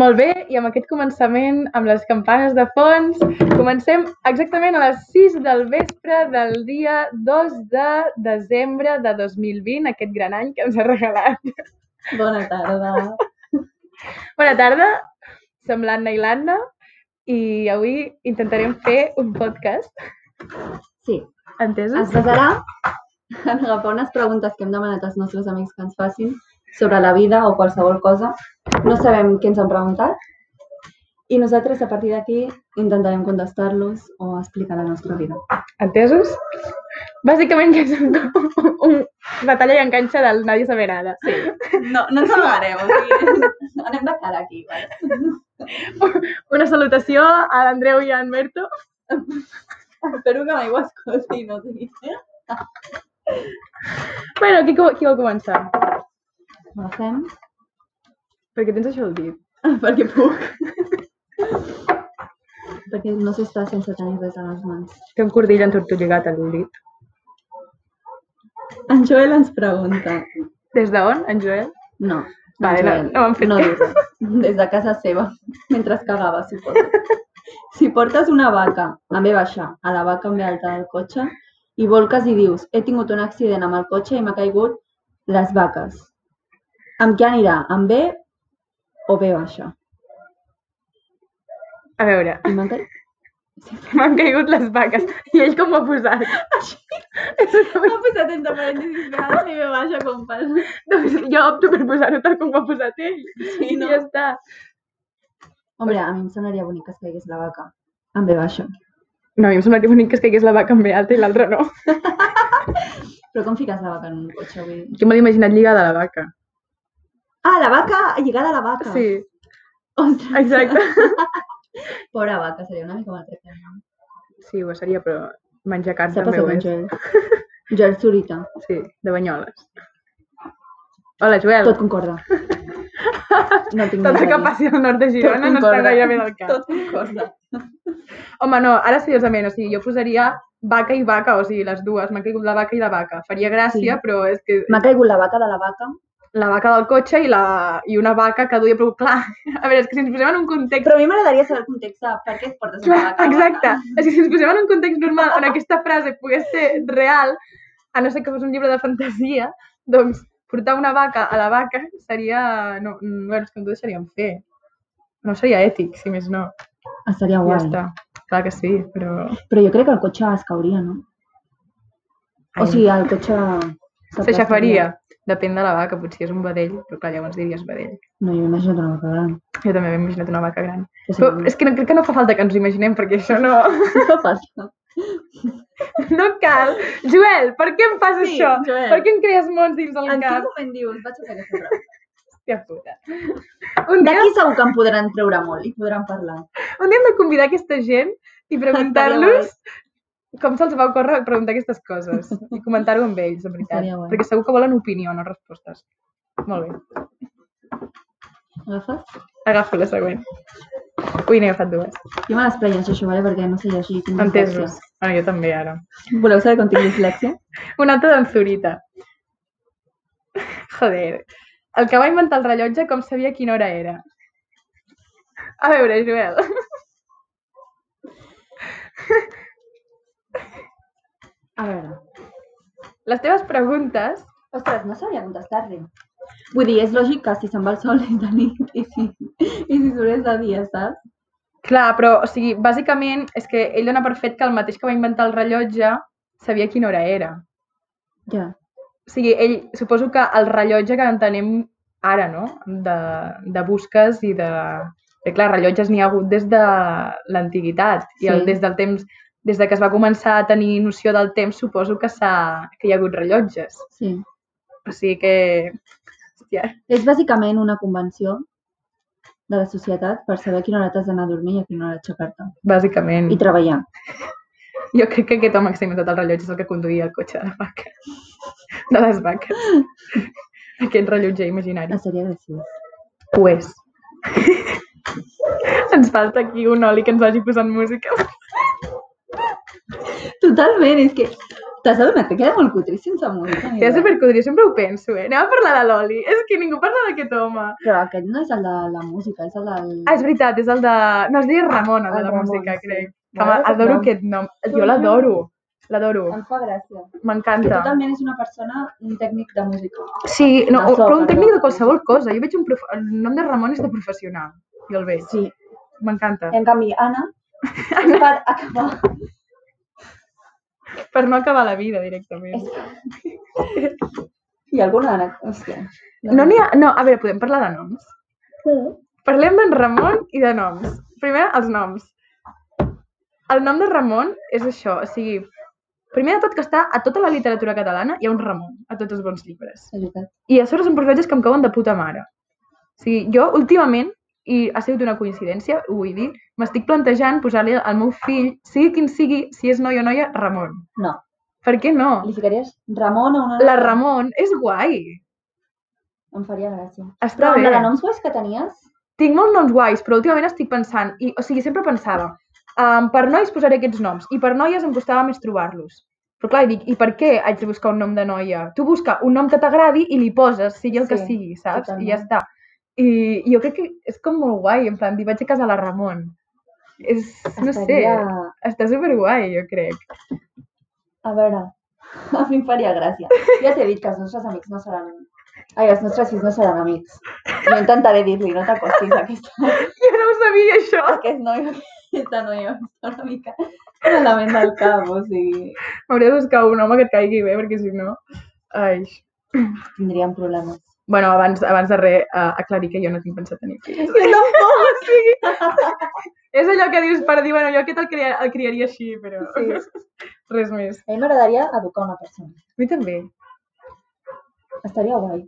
Molt bé, i amb aquest començament, amb les campanes de fons, comencem exactament a les 6 del vespre del dia 2 de desembre de 2020, aquest gran any que ens ha regalat. Bona tarda. Bona tarda, som l'Anna i l'Anna, i avui intentarem fer un podcast. Sí, es Entesos? basarà en agafar unes preguntes que hem demanat als nostres amics que ens facin sobre la vida o qualsevol cosa. No sabem què ens han preguntat i nosaltres a partir d'aquí intentarem contestar-los o explicar la nostra vida. Entesos? Bàsicament que és un, un batalla i enganxa del Nadie sabe nada. Sí. No, no ens amagarem, o sigui, anem de cara aquí. Vale? Una salutació a l'Andreu i a en Berto. Espero que mai ho escolti, no sé. Bueno, qui, co- qui vol començar? Agafem Perquè tens això al dit. perquè puc. perquè no s'està sense tenir res a les mans. Té un cordill entortolligat a l'ulit. En Joel ens pregunta, Des d'on, en Joel? No. Vale, en no- Joel, no m'han fet no cas. diu res. Des de casa seva, mentre es cagava, suposo. Si portes una vaca amb E baixa a la vaca amb B alta del cotxe i volques i dius he tingut un accident amb el cotxe i m'ha caigut les vaques. Amb què anirà? Amb B o B baixa? A veure, I m'han caigut... m'han caigut les vaques. I ell com ho ha posat? M'ha posat entre parèntesis vegades i B baixa com parla. doncs jo opto per posar-ho tal com ho ha posat ell. Sí, no? I ja està. Hombre, a mi em semblaria bonic que es caigués la vaca amb B baixa. No, a mi em sembla que bonic que es caigués la vaca amb ve alta i l'altra no. Però com fiques la vaca en un cotxe avui? Jo me l'he imaginat lligada a la vaca. Ah, la vaca lligada a la vaca. Sí, Ostres. exacte. Pobra vaca, seria una mica maltractada. Sí, ho seria, però menjar carn S'ha també passat ho amb és. Joel. Joel ¿eh? Zurita. Sí, de banyoles. Hola, Joel. Tot concorda. No tinc Tot res el a que dir. passi al nord de Girona no està gaire bé del cap. Tot concorda. Home, no, ara seriosament, o sigui, jo posaria vaca i vaca, o sigui, les dues, m'ha caigut la vaca i la vaca. Faria gràcia, Sí. però és que M'ha caigut la vaca de la vaca. la vaca del cotxe i, la, i una vaca que duia, però clar, a veure, és que si ens posem en un context... Però a mi m'agradaria saber el context de per què et portes Clar, una vaca. exacte, és que si ens posem en un context normal on aquesta frase pogués ser real, a no ser que fos un llibre de fantasia, doncs portar una vaca a la vaca seria... No, mm, bueno, és que no t'ho deixarien fer. No seria ètic, si més no. Ah, seria Ja guai. està. Clar que sí, però... Però jo crec que el cotxe es cauria, no? Ai, O sigui, el cotxe... Se s'aplastaria. xafaria. Depèn de la vaca, potser és un vedell, però clar, llavors diries vedell. No, jo m'he imaginat una vaca gran. Jo també m'he imaginat una vaca gran. Però Però sí, és que no, crec que no fa falta que ens ho imaginem, perquè això no... no fa falta. No cal. Joel, per què em fas Sí, això? Joel. Per què em crees mons dins del En quin cap? moment dius, vaig a fer aquesta prova? Hòstia puta. Un dia, D'aquí segur que en podran treure molt i podran parlar. un dia hem de convidar aquesta gent i preguntar-los com se'ls va ocórrer preguntar aquestes coses i comentar-ho amb ells, de veritat. Estaria guai. Perquè segur que volen opinió, no respostes. Molt bé. Agafes? Agafo la següent. Ui, n'he agafat dues. Jo me les preies, això, vale? perquè no sé llegir. tinc Entesos. Bueno, jo també, ara. dislèxia. Voleu saber com tinc dislèxia? Una altra d'en Zurita. Joder. El que va inventar el rellotge com sabia quina hora era. A veure, Joel. A veure. Les teves preguntes... Ostres, no sabia contestar-li. Vull dir, és lògic que si se'n va el sol és de nit i si, i si surt és de dia, saps? Clar, però, o sigui, bàsicament és que ell dona per fet que el mateix que va inventar el rellotge sabia quina hora era. Ja. O sigui, ell, suposo que el rellotge que entenem ara, no? De, de busques i de... Bé, clar, rellotges n'hi ha hagut des de l'antiguitat i el, Sí. des del temps des de que es va començar a tenir noció del temps, suposo que, s'ha- que hi ha hagut rellotges. Sí. O sigui que... Hòstia, És bàsicament una convenció de la societat per saber a quina hora t'has d'anar a dormir i a quina hora aixecar-te. bàsicament. I treballar. Jo crec que aquest home que s'ha inventat el rellotge és el que conduïa el cotxe de la vaca. De les vaques. Aquest rellotge imaginari. Ah, seria graciós. Ho és. Ens falta aquí un oli que ens vagi posant música. Totalment, és que T'has adonat que queda molt cutri sense música? Que és supercudri, sempre ho penso, eh? Anem a parlar de l'oli. És que ningú parla d'aquest home. Però aquest no és el de la música, és el del... Ah, és veritat, és el de... No, es deia Ramona, el de El la Ramon, música, sí. crec. Que M'agrada me- aquest adoro nom. aquest nom. Sí, Jo sí. l'adoro. L'adoro. Em fa gràcia. Que M'encanta. totalment és una persona, un tècnic de música. Sí, no, De o, so, però un perdó. tècnic de qualsevol cosa. Jo veig un prof... El nom de Ramon és de professional. Jo el veig. Sí. Eh. M'encanta. En canvi, Anna, és per acabar... Per no acabar la vida directament. Hi ha alguna Anna? Hòstia. No n'hi ha... No, a veure, podem parlar de noms? Sí. Parlem d'en Ramon i de noms. Primer, els noms. El nom de Ramon és això, o sigui... Primer de tot que està a tota la literatura catalana hi ha un Ramon, a tots els bons llibres. És veritat. I a sobre són personatges que em cauen de puta mare. O sigui, jo últimament, i ha sigut una coincidència, ho vull dir, m'estic plantejant posar-li al meu fill, sigui quin sigui, si és noi o noia, Ramon. No. Per què no? Li ficaries Ramon o una... La Ramon és guai. Em faria gràcia. Està Però amb bé. la de noms guais que tenies, Tinc molts noms guais, però últimament estic pensant, i, o sigui, sempre pensava, um, per nois posaré aquests noms, i per noies em costava més trobar-los. Però clar, dic, i per què haig de buscar un nom de noia? Tu busca un nom que t'agradi i li poses, sigui el que Sí, sigui, saps? I ja totalment. està. I, I jo crec que és com molt guai, en plan, dir, vaig a casa la Ramon. És, no estaria... sé, està superguai, jo crec. A veure, a mi em faria gràcia. Ja t'he dit que els nostres amics no seran... Ai, els nostres fills no seran amics. Jo intentaré dir-li, no t'acostis a aquesta, Jo no ho sabia, això. a aquest noi, a aquesta noia. Està una mica malament del cap, o sigui... M'hauré de buscar un home que et caigui bé, perquè si no... Ai. Tindríem problemes. Bueno, abans, abans de res, uh, aclarir que jo no tinc pensat tenir fills. Jo tampoc! o sigui, és allò que dius per dir, bueno, jo aquest el, cria, el criaria així, però Sí. res més. A mi m'agradaria educar una persona. A mi també. Estaria guai.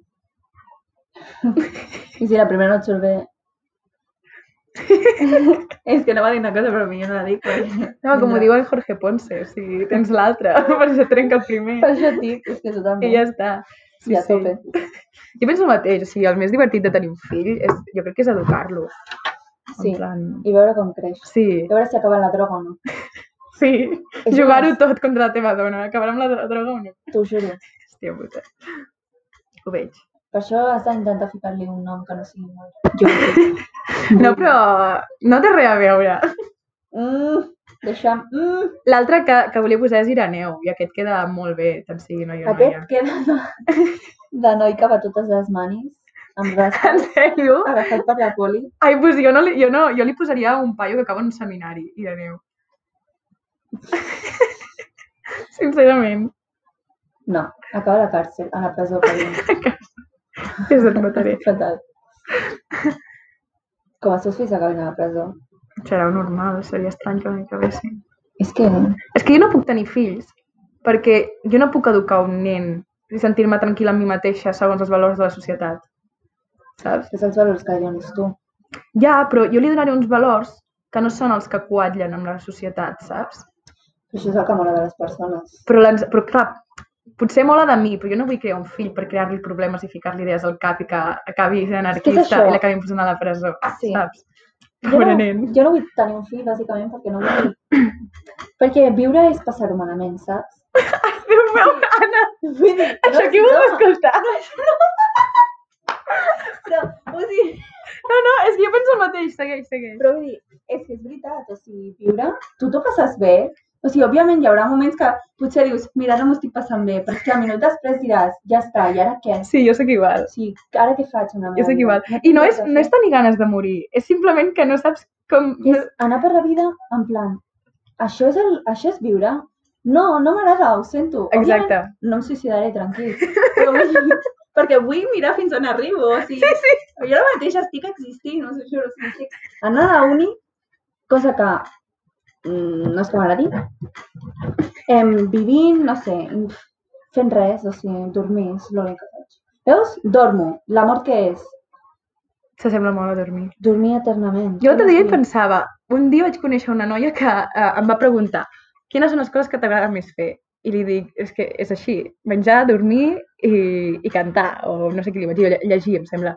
I si la primera no et surt bé... és que no va dir una cosa, però millor no la pues. dic. Perquè... No, com ho diu el Jorge Ponce, o sigui, tens l'altre, per això trenca el primer. Per això et dic, és que totalment. I ja està. sí, a tope. Jo penso el mateix, o sigui, el més divertit de tenir un fill, és, jo crec que és educar-lo. Sí. En plan... I veure com creix. Sí, I veure si acaba la droga o no. sí. És Jugar-ho tot contra la teva dona. Acabarà amb la dro- droga o no? T'ho juro. Hòstia puta. Ho veig. Per això has d'intentar ficar-li un nom que no sigui molt lluny. No, però no té res a veure. Mm, deixa'm... Mm. L'altre que, que volia posar és Ireneu, i aquest queda molt bé, tant sigui noia o Aquest noia. queda de, de noi que va totes les manis, amb En rastres, sèrio? agafat per la poli. Ai, pues jo no, li, jo no, jo li posaria un paio que acaba en un seminari, Ireneu. Sincerament, No, acaba a la càrcel, a la presó. Per que se't mataré. Fatal. Com els seus fills acabin a la presó. Serà normal, seria estrany que m'acabessin. És que... És que jo no puc tenir fills, perquè jo no puc educar un nen i sentir-me tranquil·la amb mi mateixa segons els valors de la societat. Saps? És els valors que li dones tu. Ja, però jo li donaré uns valors que no són els que quadllen amb la societat, saps? Això és el que mola de les persones. Però, l'ens- però clar, potser mola de mi, però jo no vull crear un fill per crear-li problemes i ficar-li idees al cap i que acabi sent anarquista això? Ah, i l'acabin posant a la presó, Sí. saps? Jo Pobre no, nen. jo no vull tenir un fill, bàsicament, perquè no vull... perquè viure és passar-ho malament, saps? Déu meu, Anna, Vull dir, no, això qui ho va no, escoltar? no, vull dir, No, no, és que jo penso el mateix, segueix, segueix. però vull dir, és que és veritat, o sigui, viure, tu t'ho passes bé, o sigui, òbviament hi haurà moments que potser dius, mira, no m'ho estic passant bé, però és que a minut després diràs, ja està, i ara què? Sí, jo sóc igual. O sigui, ara què faig amb la Jo meva sóc vida? igual. I no és, tinc res a no és fer. tenir ganes de morir, és simplement que no saps com... És anar per la vida en plan, això és, el, això és viure? No, no m'agrada, ho sento. Òbviament, Exacte. no em suïcidaré, tranquil. Però vull, perquè vull mirar fins on arribo. O sigui, sí, sí. Jo ara mateix estic existint, no sé, juro. O sigui, estic... Anar a la uni, cosa que mm, no és que m'agradi, em, vivint, no sé, fent res, o sigui, dormir és l'únic que faig. Veus? Dormo. La mort que és? S'assembla molt a dormir. Dormir eternament. Jo l'altre dia hi Sí. pensava, un dia vaig conèixer una noia que eh, em va preguntar quines són les coses que t'agrada més fer? I li dic, és que és així, menjar, dormir i, i cantar, o no sé què li vaig dir, o lle- llegir, em sembla.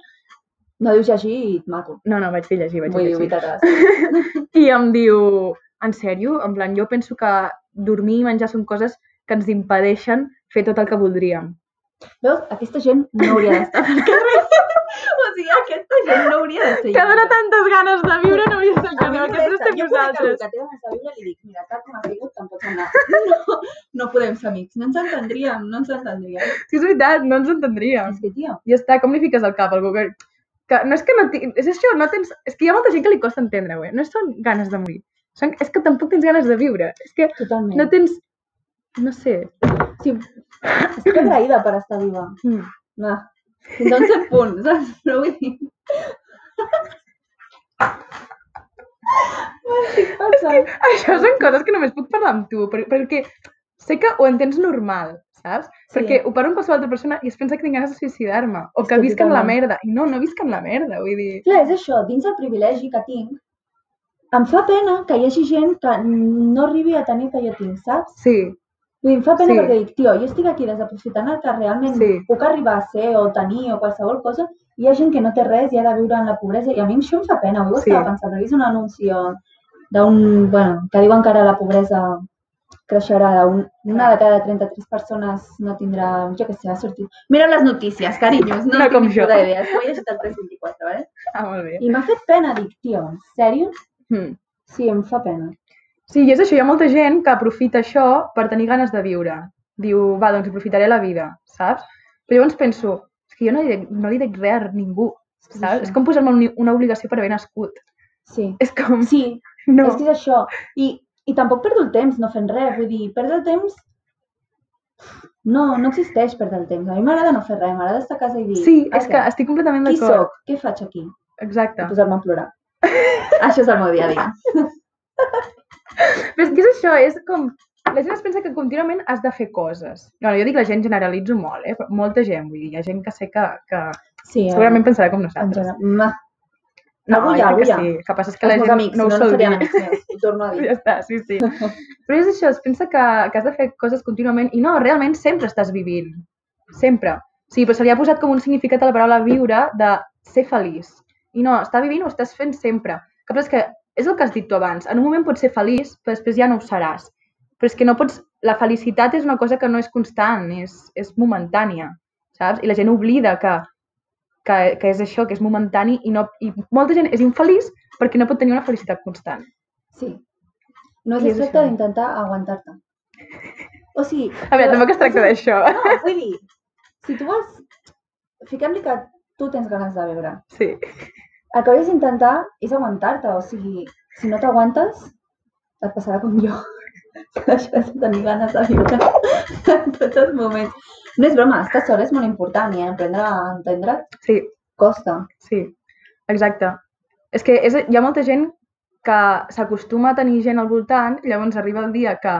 No dius llegir i et mato. No, no, vaig dir llegir, vaig Vull dir dir, llegir. vull I em diu, en sèrio? En plan, jo penso que dormir i menjar són coses que ens impedeixen fer tot el que voldríem. Veus? Aquesta gent no hauria d'estar al carrer. o sigui, aquesta gent no hauria de ser Que dona tantes ganes de viure no hauria estat A mi que només, aquestes estem jo conec algú nosaltres. que té ganes de viure i li dic, mira, tal com has vingut, tampoc anar. No, no podem ser amics, no ens entendríem, no ens entendríem. Sí, és veritat, no ens entendríem. És que, tio, I ja està, com li fiques al cap al Google? Que no és que no... ti- És això, no tens... És que hi ha molta gent que li costa entendre-ho, eh? No són ganes de morir. Són... És que tampoc tens ganes de viure. És que totalment. no tens... No sé. sí, estic agraïda per estar viva. Mm. No, fins a un cert punt, saps? Però vull dir... Estic pensant. Això són coses que només puc parlar amb tu, per- perquè sé que ho entens normal, saps? Sí. Perquè ho parlo amb qualsevol altra persona i es pensa que tinc ganes de suïcidar-me, o És que que visc en la totalment. merda. I no, no visc en la merda, vull dir... Clar, és això, dins del privilegi que tinc, em fa pena que hi hagi gent que no arribi a tenir el que jo tinc, saps? Sí, Vull dir, em fa pena Sí. perquè dic, tio, jo estic aquí desaprofitant el que realment Sí. puc arribar a ser o tenir o qualsevol cosa, i hi ha gent que no té res i ha de viure en la pobresa, i a mi això em fa pena, avui ho Sí. estava pensant, he vist un anunci on- d'un, bueno, que diuen que ara la pobresa creixerà, d'un, una de cada 33 persones no tindrà, jo què sé, ha sortit. Mira les notícies, carinyos, no, No no com tinc ni jo. puta idea, ho he llegit el 324, eh? ah, molt bé. I m'ha fet pena, dic, tio, en sèrio? Mm. Sí, em fa pena. Sí, i és això, hi ha molta gent que aprofita això per tenir ganes de viure. Diu, va, doncs aprofitaré la vida, saps? Però llavors penso, és que jo no li dec, no li dec res a ningú, que és saps? això. És com posar-me un- una obligació per haver nascut. Sí. És com, Sí, no. És que és això. I, I tampoc perdo el temps no fent res. Vull dir, perdre el temps... No, no existeix perdre el temps. A mi m'agrada no fer res, m'agrada estar a casa i dir... Sí, "Ah, és que estic completament Qui d'acord. sóc? Doncs Què faig aquí? I Exacte. posar-me a plorar. això és el meu dia a dia. Però és que és això, és com... La gent es pensa que contínuament has de fer coses. No, jo dic la gent, generalitzo molt, eh? Però Molta gent, vull dir, hi ha gent que sé que, que Sí, eh, segurament pensarà com en nosaltres. general. Ma, No, Avui jo ja, crec que sí. avui ja. El que passa és que que la els meus gent amics no no, ho no sol dir. serien amics meus, ho torno a dir. Ja està, sí, sí. Però és això, es pensa que, que has de fer coses contínuament i no, realment sempre estàs vivint. Sempre. Sí, però se li ha posat com un significat a la paraula viure de ser feliç. I no, estar vivint ho estàs fent sempre. Que però és que és el que has dit tu abans. En un moment pots ser feliç, però després ja no ho seràs. Però és que no pots... La felicitat és una cosa que no és constant, és, és momentània, saps? I la gent oblida que, que, que és això, que és momentani i, no, i molta gent és infeliç perquè no pot tenir una felicitat constant. Sí. No I es és tracta això. d'intentar aguantar-te. O sigui... A veure, tampoc es tracta d'això. No, vull dir, si tu vols... Fiquem-li que tu tens ganes de beure. Sí. el que hauries d'intentar és aguantar-te, o sigui, si no t'aguantes, et passarà com jo. Que Deixaràs de tenir ganes de viure en tots els moments. No és broma, estar sola és molt important i aprendre a entendre Sí, costa. sí, exacte. És que és, hi ha molta gent que s'acostuma a tenir gent al voltant, llavors arriba el dia que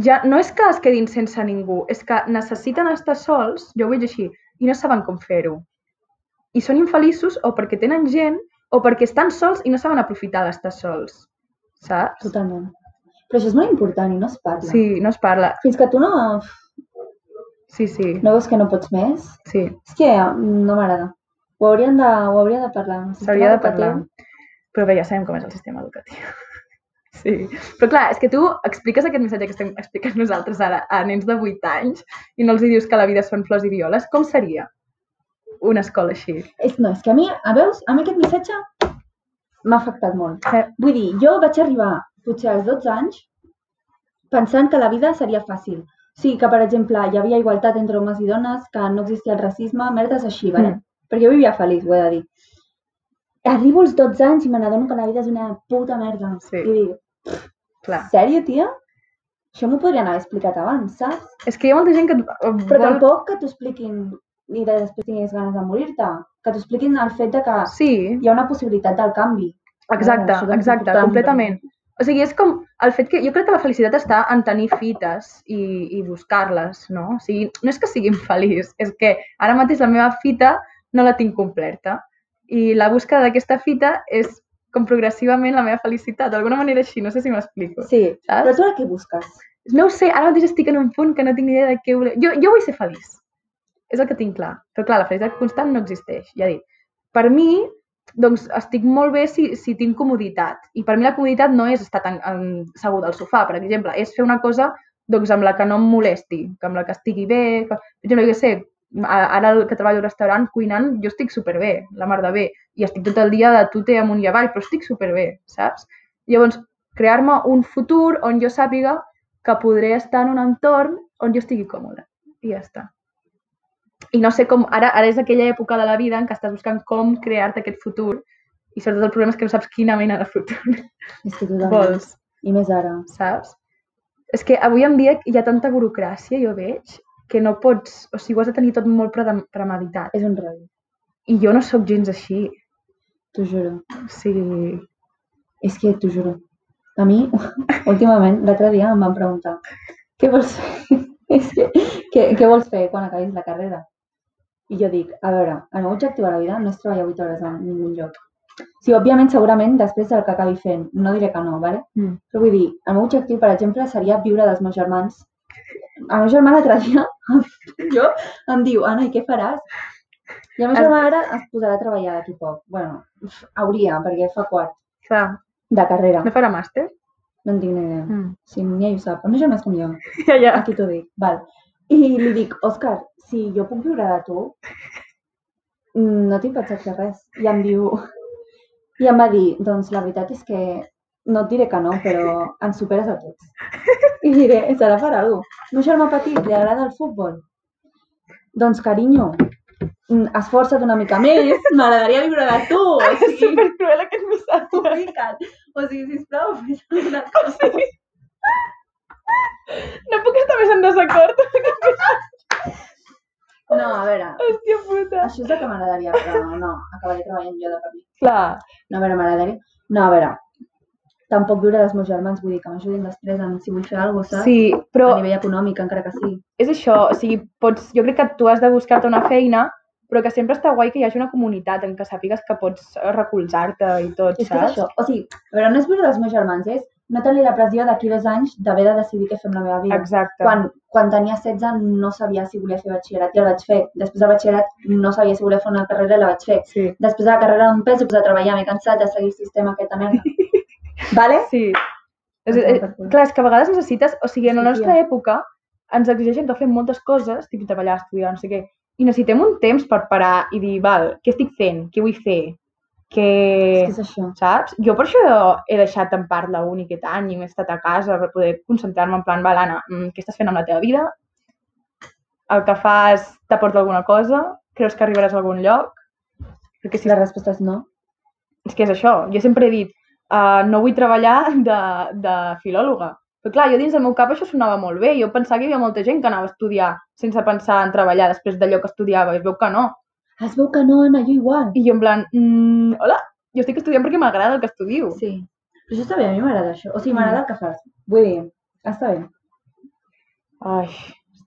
ja no és que es quedin sense ningú, és que necessiten estar sols, jo ho veig així, i no saben com fer-ho. I són infeliços o perquè tenen gent o perquè estan sols i no saben aprofitar d'estar sols, saps? Totalment. Però això és molt important i no es parla. Sí, no es parla. Fins que tu no, Sí, sí, no veus que no pots més, sí, és que mm, no m'agrada. Ho hauríem de, ho hauria de parlar. El sistema s'hauria de educatiu- parlar. Però bé, ja sabem com és el sistema educatiu. Sí, però clar, és que tu expliques aquest missatge que estem explicant nosaltres ara a nens de 8 anys i no els hi dius que la vida són flors i violes. Com seria una escola així? És, no, és que a mi, a veus, a mi aquest missatge m'ha afectat molt. Eh. Vull dir, jo vaig arribar potser als 12 anys pensant que la vida seria fàcil. O sigui, que per exemple hi havia igualtat entre homes i dones, que no existia el racisme, merdes així, vale? Mm. perquè jo vivia feliç, ho he de dir. Arribo als 12 anys i me n'adono que la vida és una puta merda. Sí. I dic, Clar. sèrio, tia? Això m'ho podrien haver explicat abans, saps? És que hi ha molta gent que... et Però vol- tampoc que t'ho expliquin i de- després tinguis ganes de morir-te. Que t'ho expliquin el fet de que Sí, hi ha una possibilitat del canvi. Exacte, Això també és exacte, important, completament. O sigui, és com el fet que... Jo crec que la felicitat està en tenir fites i, i buscar-les, no? O sigui, no és que sigui infeliç, és que ara mateix la meva fita no la tinc completa. I la busca d'aquesta fita és com progressivament la meva felicitat, d'alguna manera així, no sé si m'explico. Sí, Saps? però tu ara què busques? No ho sé, ara mateix estic en un punt que no tinc ni idea de què voler... Jo, jo vull ser feliç. És el que tinc clar. Però clar, la felicitat constant no existeix, ja he dit. Per mi, doncs, estic molt bé si, si tinc comoditat. I per mi la comoditat no és estar tan en, segur del sofà, per exemple. És fer una cosa doncs amb la que no em molesti, que amb la que estigui bé... Que... Per exemple, jo què sé, a- ara el que treballo al restaurant cuinant, jo estic superbé, la mar de bé, i estic tot el dia de tute amunt i avall, però estic superbé, saps? Llavors, crear-me un futur on jo sàpiga que podré estar en un entorn on jo estigui còmoda. I ja està. I no sé com... Ara, ara és aquella època de la vida en què estàs buscant com crear-te aquest futur i sobretot el problema és que no saps quina mena de futur És que totalment. vols, I més ara. saps? És que avui en dia hi ha tanta burocràcia, jo veig, que no pots... O sigui, ho has de tenir tot molt predem- premeditat. És un rotllo, I jo no sóc gens així. t'ho juro. O sigui... És que t'ho juro. A mi, últimament, l'altre dia em van preguntar què vols fer? És que, què, què vols fer quan acabis la carrera? I jo dic, a veure, el meu objectiu a la vida no és treballar 8 hores en ningú lloc. Sí, òbviament, segurament, després del que acabi fent, no diré que no, vale? Mm. Però vull dir, el meu objectiu, per exemple, seria viure dels meus germans. El meu germà l'altre dia jo, em diu, Anna, i què faràs? I el meu El- germà ara es posarà a treballar d'aquí poc. bueno, uf, hauria, perquè fa quart Clar, de carrera. no farà màster? No en tinc ni idea. Mm. Si ni ell ho sap. El meu germà és com jo. Ja, ja. Aquí t'ho dic. Val. I li dic, Òscar, si jo puc viure de tu, mm, no tinc pensat fer res. I em diu... I em va dir, doncs la veritat és que no et diré que no, però ens superes a tots. I diré, serà per alguna cosa. El meu germà petit li agrada el futbol. Doncs, carinyo, mm, esforça't una mica més, m'agradaria viure de tu. O És supercruel aquest missatge. complicat. O sigui, sisplau, fes alguna cosa. No puc estar més en desacord. No, a veure, Hòstia puta. això és el que m'agradaria, però no, acabaré treballant jo de per mi. Clar. No, a veure, m'agradaria... No, a veure, tampoc viure dels meus germans, vull dir que m'ajudin després en si vull fer alguna cosa, saps? Sí, però A nivell econòmic, encara que sí. és això, o sigui, pots, jo crec que tu has de buscar-te una feina, però que sempre està guai que hi hagi una comunitat en què sàpigues que pots eh, recolzar-te i tot, És que és saps? això. O sigui, a veure, no és viure dels meus germans, és no tenir la pressió d'aquí dos anys d'haver de decidir què fer amb la meva vida. Exacte. Quan, quan tenia 16 no sabia si volia fer batxillerat i el vaig fer. Després del batxillerat no sabia si volia fer una carrera i la vaig fer. Sí. Després de la carrera em penso posar a treballar, m'he cansat de seguir el sistema aquest de merda. vale? Sí. És, és, clar, és que a vegades necessites... O sigui, en la Sí, nostra època ens exigeixen que fem moltes coses, tipus treballar, estudiar, no sé què, i necessitem un temps per parar i dir, val, què estic fent? Què vull fer? Què... És que és això. saps? Jo per això he deixat en part la uni aquest any i m'he estat a casa per poder concentrar-me en plan, val, Anna, mm, què estàs fent amb la teva vida? El que fas t'aporta alguna cosa? Creus que arribaràs a algun lloc? Perquè si La resposta és no. és que és això. Jo sempre he dit, uh, no vull treballar de, de filòloga. Però clar, jo dins del meu cap això sonava molt bé. Jo pensava que hi havia molta gent que anava a estudiar sense pensar en treballar després d'allò que estudiava. I es veu que no. Es veu que no, Anna, jo igual. I jo en plan, mm, hola, jo estic estudiant perquè m'agrada el que estudio. Sí. Però això està bé, a mi m'agrada això. O sigui, m'agrada el que fas. Vull dir, està bé. Ai,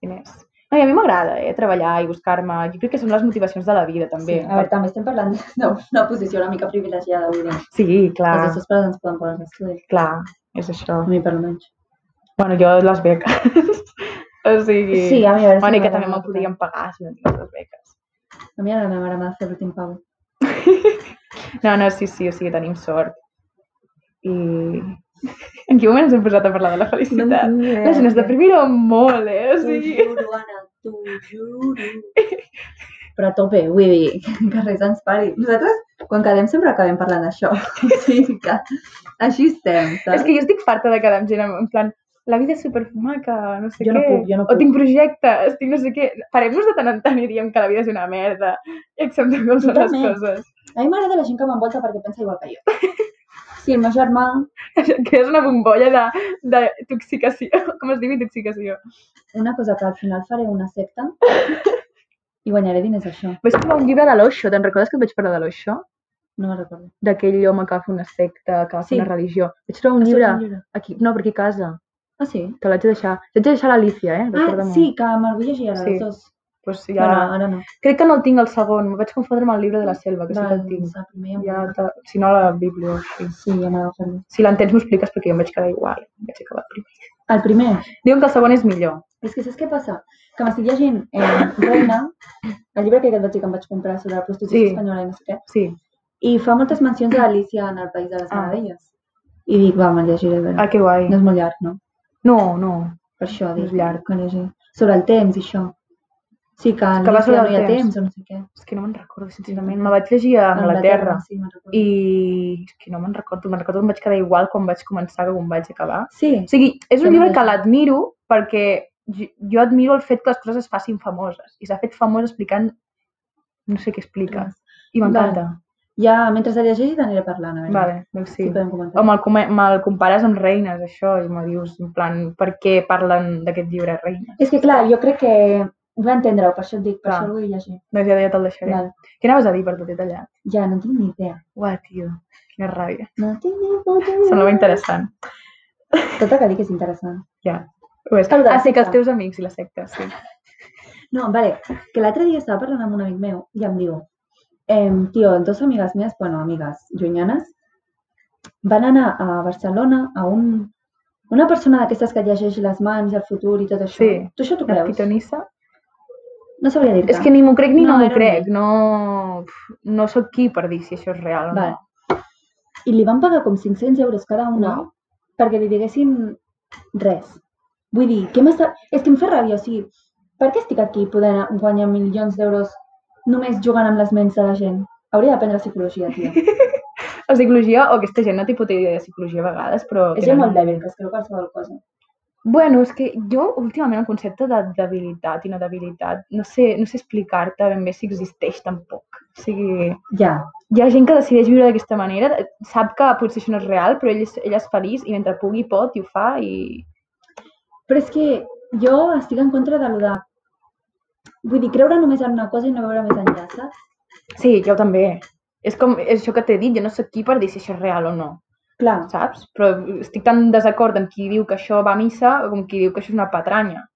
diners. No, i a mi m'agrada, eh, treballar i buscar-me. Jo crec que són les motivacions de la vida, també. Sí. A veure, també estem parlant d'una posició una mica privilegiada, vull dir. sí clar, Els nostres pares ens poden posar els estudis. clar, és això. Ah. A mi, per almenys. Bueno, jo les beques. o sigui... Sí, a mi a veure bueno, i que m'agrada també m'ho molt. podien pagar si no tingués les beques. A mi ara la meva mare m'ha de fer l'últim pau. No, no, sí, sí, o sigui, tenim sort. I... En quin moment ens hem posat a parlar de la felicitat? tinc ni idea. la gent es deprimirà molt, eh? O T'ho sigui... juro, Anna, t'ho juro. Però a tope, vull dir, que res ens pari. Nosaltres, quan quedem, sempre acabem parlant d'això. O sigui que així estem, És saps? que jo estic farta de quedar amb gent en en plan la vida és supermaca, no sé Jo no què. puc, jo no O puc. tinc projectes, tinc no sé què. Parem-nos de tant en tant i diem que la vida és una merda i acceptem com són les Totalment. coses. A mi m'agrada la gent que m'envolta perquè pensa igual que jo. Sí, el meu germà, Que és una bombolla de, de toxicació. Com es diu intoxicació? una cosa que al final faré una secta i guanyaré diners d'això. Vaig trobar un llibre de l'Oixo, te'n recordes que et vaig parlar de l'Oixo? No me'n recordo. D'aquell home que va fer una secta, que va fer Sí. una religió. Vaig trobar un Has llibre trobat un llibre? aquí, no, per aquí a casa. Ah, sí? Te l'haig de deixar. T'haig de deixar a l'Alicia, eh? Ah, Recorda-m'ho. sí, que me'l vull llegir ara, Sí. els dos. Pues ja... Ja. Bueno, ara no. Crec que no el tinc el segon. Me vaig confondre amb el llibre de la selva, que sí que el tinc. Doncs el primer em- Ja te... Si no, a la Bíblia o així. Sí, ja m'ha d'agafar. Si l'entens, m'ho expliques perquè jo em vaig quedar igual. Em vaig acabar el primer. El primer? Diuen que el segon és millor. És que saps què passa? Que m'estic llegint eh, Reina, el llibre aquest que et vaig dir que em vaig comprar sobre la prostitució Sí. espanyola i no sé què, Sí. i fa moltes mencions a Alicia en el País de les Ah. Meravelles. I dic, va, me'l llegiré bé. Ah, que guai. No és molt llarg, no? No, no. Per això dius llarg, que no sé. Sobre el temps, i això. Sí, que, que va que sobre no el hi ha temps. temps o no sé què. És que no me'n recordo, sincerament. Me vaig llegir a Anglaterra. Sí, me'n recordo. I és que no me'n recordo. Me'n recordo que em vaig quedar igual quan vaig començar que quan vaig acabar. Sí, O sigui, és Jo un llibre no. que l'admiro perquè jo, jo admiro el fet que les coses es facin famoses. I s'ha fet famós explicant no sé què explica. I m'encanta. ja mentre la llegeixi t'aniré parlant, a veure. Vale, doncs Sí. sí. podem comentar. O me'l come- me'l compares amb Reines, això, i me dius, en plan, per què parlen d'aquest llibre Reines? És que clar, jo crec que ho va entendre-ho, per això et dic, per Clar. això el vull llegir. Doncs ja, ja te'l deixaré. Val. Què anaves a dir, perdó, t'he tallat? Ja, no tinc ni idea. Uah, tio, quina ràbia. No tinc ni puta idea. Semblava interessant. Tot el que dic és interessant. Ho és. El de la Ah, sí, que els secta. teus amics i la secta, sí. No, vale, que l'altre dia estava parlant amb un amic meu i em diu, ehm, tio, dos amigues meves, bueno, amigues llunyanes, van anar a Barcelona a un, una persona d'aquestes que llegeix les mans i el futur i tot això. Sí. Tu això t'ho La creus? pitonissa. No sabria dir-te. És que ni m'ho crec ni No, no, m'ho era un crec. No, uf, no sóc qui per dir si això és real o no. Vale. I li van pagar com 500 euros cada una Uau. perquè li diguessin res. Vull dir, què m'està... És que em fa ràbia, o sigui, per què estic aquí podent guanyar milions d'euros només jugant amb les ments de la gent? Hauria d'aprendre psicologia, tio. La psicologia, o aquesta gent no té puta idea de psicologia a vegades, però... És gent molt dèbil, que es creu qualsevol cosa. Bueno, és que jo últimament el concepte de debilitat i no debilitat, no sé, no sé explicar-te ben bé si existeix tampoc. O sigui, Ja, hi ha gent que decideix viure d'aquesta manera, sap que potser això no és real, però ell és, ell és feliç i mentre pugui pot i ho fa i... però és que jo estic en contra de lo de... Vull dir, creure només en una cosa i no veure més enllà, saps? Sí, jo també. És com és això que t'he dit, jo no sóc qui per dir si això és real o no, Clar, saps? Però estic tan en desacord amb qui diu que això va a missa com qui diu que això és una patranya.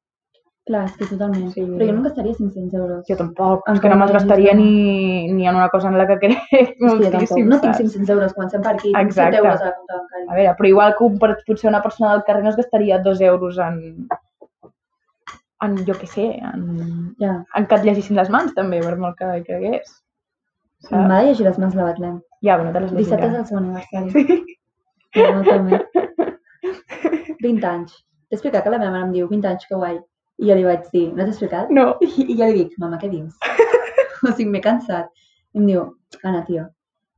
clar, és que totalment. Sí. Però jo no em gastaria 500 euros. Jo tampoc, és Encara que no me'ls no hi ha gastaria gent. ni, ni en una cosa en la que crec. És que jo tampoc. moltíssim, No tinc saps? 500 euros, comencem per aquí. Tinc 7 Exacte. euros a la compta bancària. A veure, però igual que un, per- potser una persona del carrer no es gastaria dos euros en, en jo què sé, en, Ja, en que et llegissin les mans també, per molt que hi cregués. em va llegir les mans la Betlem. Ja, bueno, te les Dissabte és llegirà. el seu aniversari. Sí. No, també. 20 anys. T'he explicat que la meva mare em diu 20 anys, que guai. I jo li vaig dir, no t'he explicat? No, I jo li dic, mama, què dius? o sigui, m'he cansat. I em diu, Anna, tio.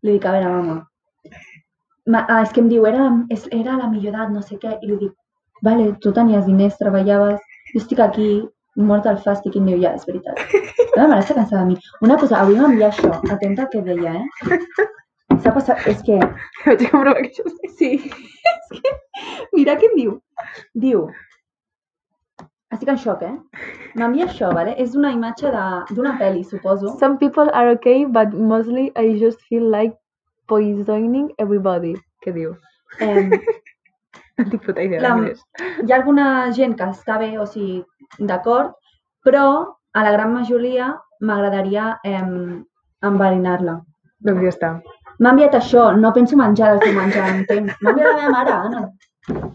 Li dic, a veure, mama. Ma, ah, és que em diu, era, és, era la millor edat, no sé què. I li dic, vale, tu tenies diners, treballaves, jo estic aquí, mort al fàstic. I em diu, ja, és veritat. La meva mare està cansada de mi. Una cosa, avui m'envia això, atenta al que deia, eh? S'ha passat, és que vaig comprovar que això és... Sí, és que... Mira què em diu. Diu... Estic en xoc, eh? M'envia això, vale? És una imatge de- d'una pel·li, suposo. Some people are okay, but mostly I just feel like poisoning everybody. Què diu? Em, No tinc puta idea La- d'inglès. hi ha alguna gent que està bé, o sigui, d'acord, però a la gran majoria m'agradaria em, enverinar-la. Doncs ja està. M'ha enviat això, no penso menjar del seu menjar, entens? M'ha enviat la meva mare, Anna.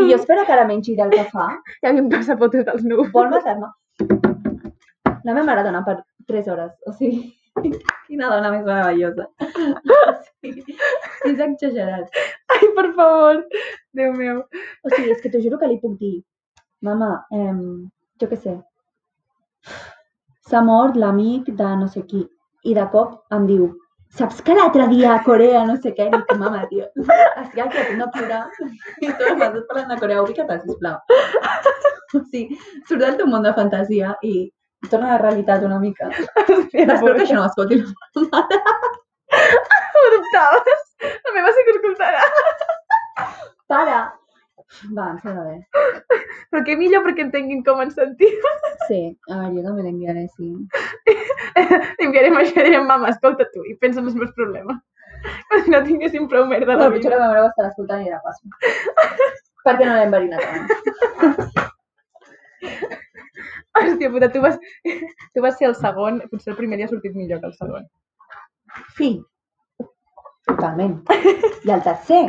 I jo espero que ara mengi del que fa. Ja havíem passat fotos dels núvols. Vol matar-me? La meva mare dona per 3 hores, o sigui... Quina dona més meravellosa. O sigui, és exagerat. Ai, per favor. Déu meu. O sigui, és que t'ho juro que li puc dir, mama, em, jo què sé, s'ha mort l'amic de no sé qui. I de cop em diu, saps que l'altre dia a Corea no sé què? I dic, mama, tio, estic aquí a punt de plorar. I tu m'has estat parlant de Corea, ubica't, sisplau. O sigui, surt del teu món de fantasia i torna a la realitat una mica. Espero que això no ho escolti la meva mare. Ho dubtaves? La meva sí que ho escoltarà. Para! Va, em sembla bé. Però que millor perquè entenguin com ens sentim. Sí, a veure, jo també l'enviaré, sí. T'enviarem això i direm, mama, escolta tu i pensa en els meus problemes. Com si no tinguéssim prou merda a la Però potser vida. la meva mare ho estarà escoltant i dirà, passo. Perquè no l'he enverinat abans. Hòstia puta, tu vas, tu vas ser el segon, potser el primer dia ha sortit millor que el segon. Fi. Totalment. I el tercer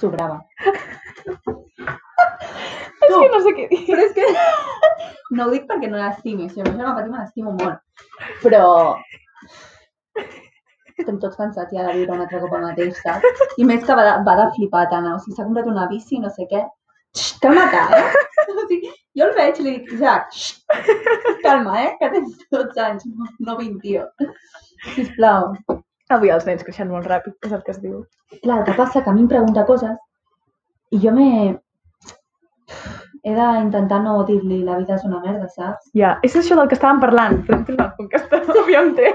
sobrava. És que no sé què dir. Però és que no ho dic perquè no l'estimi. Si jo no patim, l'estimo molt. Però estem tots cansats ja de viure un altre cop el mateix, saps? I més que va de, va de flipat, Anna. O sigui, s'ha comprat una bici, no sé què. Xxt, calma eh? O sigui, jo el veig i li dic, Isaac, xxt, calma, eh, que tens 12 anys, no- no 21. Sisplau. Avui els nens creixen molt ràpid, és el que es diu. Clar, el que passa que a mi em pregunta coses i jo me... He d'intentar no dir-li la vida és una merda, saps? Ja, és això del que estàvem parlant. Podem tornar al punt que estàvem ja té.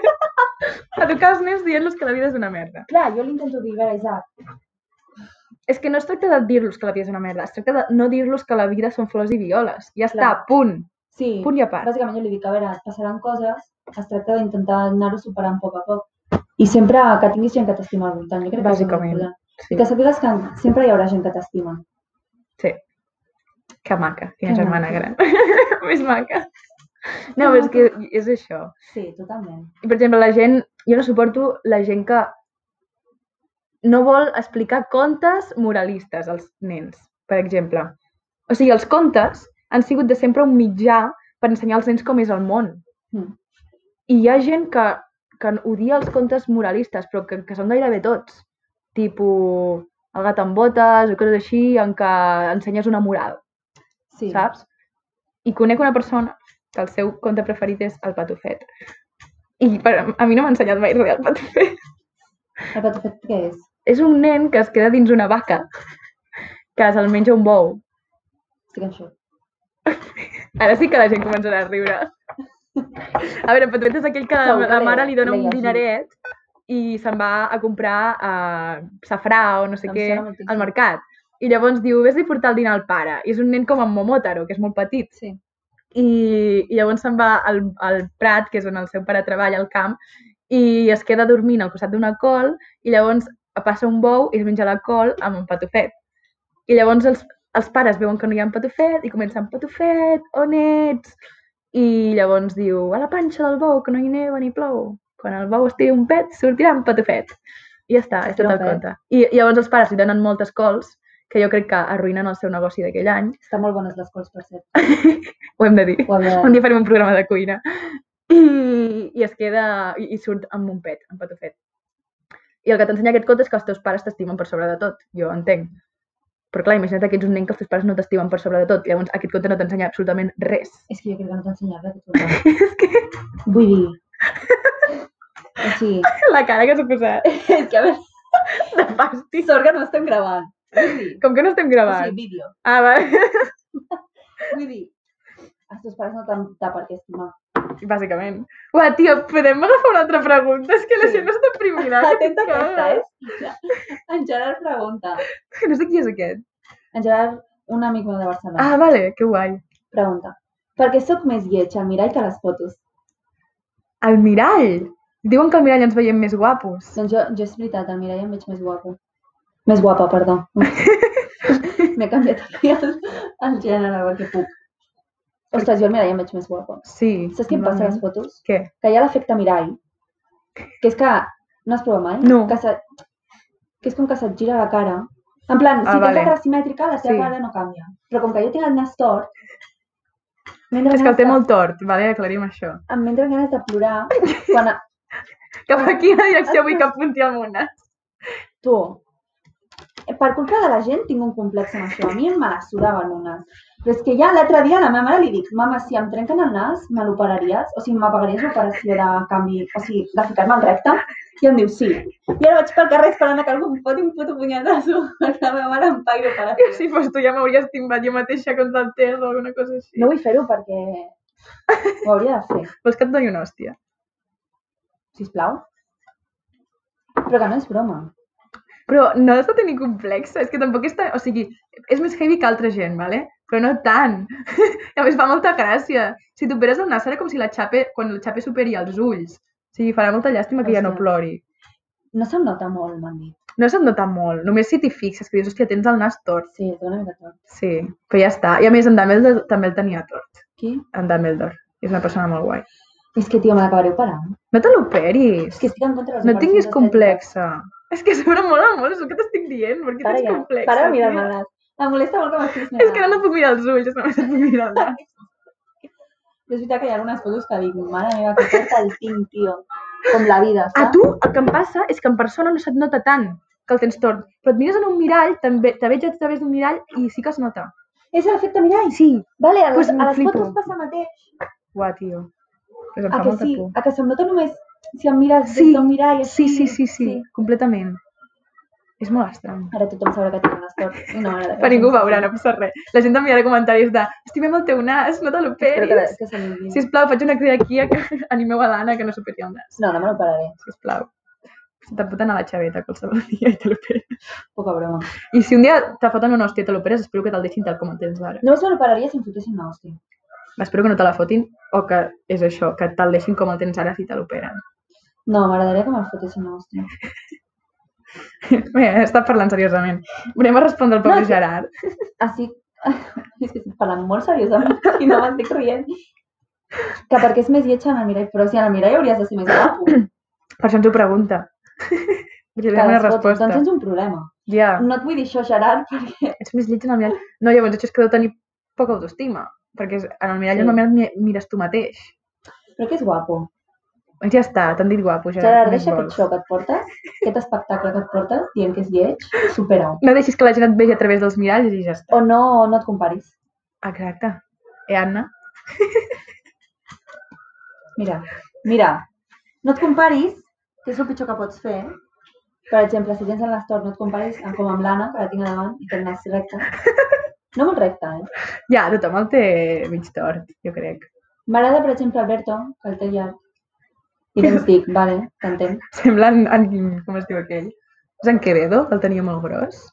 Educar els nens dient-los que la vida és una merda. Clar, jo li intento dir, a veure, Isaac, És que no es tracta de dir-los que la vida és una merda, es tracta de no dir-los que la vida són flors i violes. Ja està, Clar. punt. sí, Punt i a part. bàsicament jo li dic, a veure, passaran coses, es tracta d'intentar anar-ho superant a poc a poc. I sempre que tinguis gent que t'estima al voltant, jo crec que això és Bàsicament, important. Sí. I que sàpigues que sempre hi haurà gent que t'estima. sí. Que maca, quina Que germana maca. gran. Més maca. No, Que però és que és això. Sí, totalment. I, per exemple, la gent, jo no suporto la gent que no vol explicar contes moralistes als nens, per exemple. O sigui, els contes han sigut de sempre un mitjà per ensenyar als nens com és el món. Mm. I hi ha gent que, que odia els contes moralistes, però que, que són gairebé tots. Tipo, el gat amb botes o coses així, en què ensenyes una moral Sí. saps? I conec una persona que el seu conte preferit és el patufet. I per, a mi no m'ha ensenyat mai res el patufet. El patufet què és? És un nen que es queda dins una vaca, que se'l menja un bou. Estic en xoc. Ara sí que la gent començarà a riure. A veure, el patufet és aquell que la, Segur que la l'he- mare li dona l'he un llegit. dineret i se'n va a comprar eh, safrà o no sé Em què sona moltíssim. al mercat. I llavors diu, vés a portar el dinar al pare. I és un nen com en Momotaro, que és molt petit. Sí. i, i llavors se'n va al, al Prat, que és on el seu pare treballa, al camp, i es queda dormint al costat d'una col i llavors passa un bou i es menja la col amb un patufet. I llavors els, els pares veuen que no hi ha un patufet i comencen, patufet, on ets? I llavors diu, a la panxa del bou, que no hi neva ni plou. Quan el bou estigui un pet, sortirà un patufet. I ja està, és tot el Sortirà un pet. conte. I, i llavors els pares li donen moltes cols, que jo crec que arruïnen el seu negoci d'aquell any. Estan molt bones les cols, per cert. Ho hem de dir. Ho havia de Un dir. dia farem un programa de cuina. I, i es queda... I, i surt amb un pet, amb patufet. I el que t'ensenya aquest conte és que els teus pares t'estimen per sobre de tot. Jo entenc. Però clar, imagina't que ets un nen que els teus pares no t'estimen per sobre de tot. Llavors aquest conte no t'ensenya absolutament res. És que jo crec que no t'ensenyava aquest conte. és que Vull dir... O sigui, la cara que s'ha posat és que a veure, de fàstic. sort que no estem gravant. Vull dir, Com que no estem o gravant? sigui, vídeo. Ah, va. Vull dir, els teus pares no t'han de per què estimar. Bàsicament. Uà, tio, podem agafar una altra pregunta? És que la Sí. gent no està primilada. Atenta a aquesta, eh? En Gerard pregunta. eh? No sé qui és aquest. En Gerard, un amic meu de Barcelona, Ah, vale, que guai. pregunta. Per què sóc més lleig al mirall que a les fotos? El mirall. Diuen que al mirall ens veiem més guapos. Doncs jo, jo és veritat, al mirall em veig més guapo. Més guapa, perdó. M'he canviat aquí el, el gènere perquè puc. Ostres, jo al mirall em veig més guapa. Sí. Saps què em passa a les fotos? Què? Que hi ha l'efecte mirall, que és que no has provat mai? No. Que, se, que és com que se't gira la cara. En plan, si Ah, tens vale. la cara simètrica, la teva Sí. cara no canvia. Però com que jo tinc el nas tort, mentre És que el té molt tort, vale? aclarim això. em vindran ganes de plorar quan a... Cap a quina direcció vull que apunti el monat? tu... Eh, Per culpa de la gent tinc un complex amb això. A mi me la sudava el meu nas. Però és que ja l'altre dia a la meva mare li dic mama, si em trenquen el nas, me l'operaries? O sigui, m'apagaries l'operació de canvi, o sigui, de ficar-me al recte? I em diu sí. I ara vaig pel carrer esperant a que algú em foti un puto punyetazo perquè la meva mare em pagui l'operació. Si fos tu ja m'hauries timbat jo mateixa contra el terra o alguna cosa així. No vull fer-ho perquè ho hauria de fer, Vols que et doni una hòstia? sisplau. Però que no és broma. Però no has de tenir complexa, és que tampoc és tan... O sigui, és més heavy que altra gent, vale? però no tant. I a més fa molta gràcia. Si t'operes el nas serà com si la xape, quan la xape superi els ulls. O sigui, farà molta llàstima que ja no Hòstia. plori. No se'm nota molt, m'han dit. No se't nota molt, només si t'hi fixes, que dius, hòstia, tens el nas tort. Sí, té una mica tort. Sí, però ja està. I a més, en Dumbledore també el tenia tort. Qui? En Dumbledore. És una persona molt guai. És que, tio, me l'acabaré operant. No te l'operis. És que estic en contra de les No tinguis operacions complexa. És que a sobre mola molt, és el que t'estic dient. Per estètiques. què Para tens ja, complexa? para de mirar tio? el nas. Em molesta molt com estiguis mirant. És que ara no et puc mirar els ulls, només et puc mirar el nas. Però és veritat que hi ha algunes fotos que dic, mare meva, que porta el tinc, tio. Com la vida, A saps? tu el que em passa és que en persona no se't nota tant que el tens tort. Però et mires en un mirall, també te veig a través d'un mirall i sí que es nota. És l'efecte mirall? Sí. Vale, a les, Pues pues a les flipo. fotos passa el mateix. Uah, tio. Pues em A Ah, fa que molta sí, por. a que se'm nota només si em mires Sí, des d'un mirall. Sí, sí, Així. sí, sí, completament. És molt estrany. Ara tothom sabrà que tinc un esport i no m'agrada. Però ningú ho veurà, no passa res. La gent enviarà comentaris de estimem el teu nas, no te Espero que, l'operis. que se m'ho digui. Sisplau, faig una crida aquí a que animeu a l'Anna que no s'operi el nas. No, no me l'operaré. Sisplau. Se te'n pot anar a la xaveta qualsevol dia i te l'operes. Poca broma. I si un dia te foten una hòstia i te l'operes, espero que te'l deixin tal com el tens ara. Només me l'operaria si em fotessin una hòstia. Espero que no te la fotin o que és això, que te'l deixin com el tens ara si te l'operen. No, m'agradaria que me'l fotessin una hòstia. Bé, està parlant seriosament. Anem a respondre al pobre No, sí. Gerard. Així... És que estic parlant molt seriosament i no m'estic rient. Que perquè és més lletja en el mirall, però si "Ah, en el mirall hauries de ser més guapo. Per això ens ho pregunta. Li donem una les fotos, resposta. Doncs tens un problema. Ja, No et vull dir això, Gerard, perquè... ets més lleig en el mirall. No, llavors això és que deu tenir poca autoestima, perquè és- en el mirall Sí. sí. només mi- mires tu mateix. Però que és guapo. Doncs ja està, t'han dit guapo, Gerard. Gerard, què més deixa aquest vols? show que et portes, aquest espectacle que et portes, dient que és lleig, supera-ho. No deixis que la gent et vegi a través dels miralls i ja està. O no, o no et comparis. Exacte. Eh, Anna? Mira, mira, no et comparis, que és el pitjor que pots fer. Per exemple, si tens el nas tort, no et comparis amb, com amb l'Anna, que la tinc a davant, i té el nas recte. No molt recte, eh? Ja, tothom el té mig tort, jo crec. M'agrada, per exemple, Alberto, que el té llarg. I doncs dic, vale, t'entenc. Sembla en, en... com es diu aquell? És en Quevedo, que el tenia molt gros.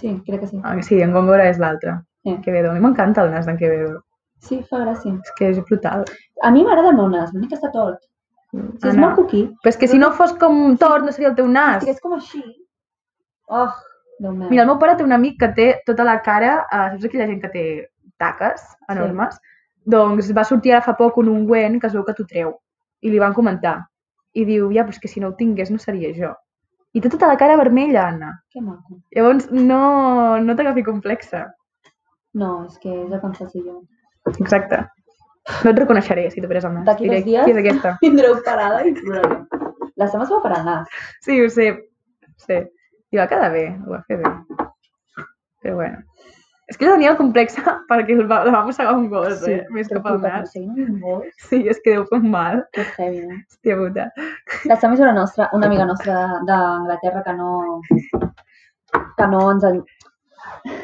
Sí, crec que sí. Ah, sí, en Góngora és l'altre. Sí. Quevedo. A mi m'encanta el nas d'en Quevedo. Sí, fa gràcia. És que és brutal. A mi m'agrada el meu nas, l'únic que està tort. Ah, Si és Anna, molt cuquí, Però és que si no fos com tort, no seria el teu nas. si és com així... Oh, Déu meu. Mira, el meu pare té un amic que té tota la cara, eh, saps aquella gent que té taques enormes? Doncs va sortir ara fa poc un ungüent que es veu que t'ho treu. I li van comentar. I diu, ja, però és que si no ho tingués no seria jo. I té tota la cara vermella, Anna. Que maco. Llavors, no, no t'agafi complexa. No, és que és el que em faci jo. Exacte. No et reconeixeré si t'operes el nas. D'aquí dos dies- Qui és aquesta? Tindré operada i ploraré. La Sama es va operar el nas. Sí, ho sé. Ho sé. I va quedar bé, ho va fer bé. Però bueno. És que ella tenia el complex perquè el va, la va mossegar un gos, sí, eh? Més que pel nas. Sí, molt. Sí, és que deu fer un mal. Que heavy, no? Hòstia puta. La Sam és una, nostra, una amiga nostra de- d'Anglaterra que no que no ens... en-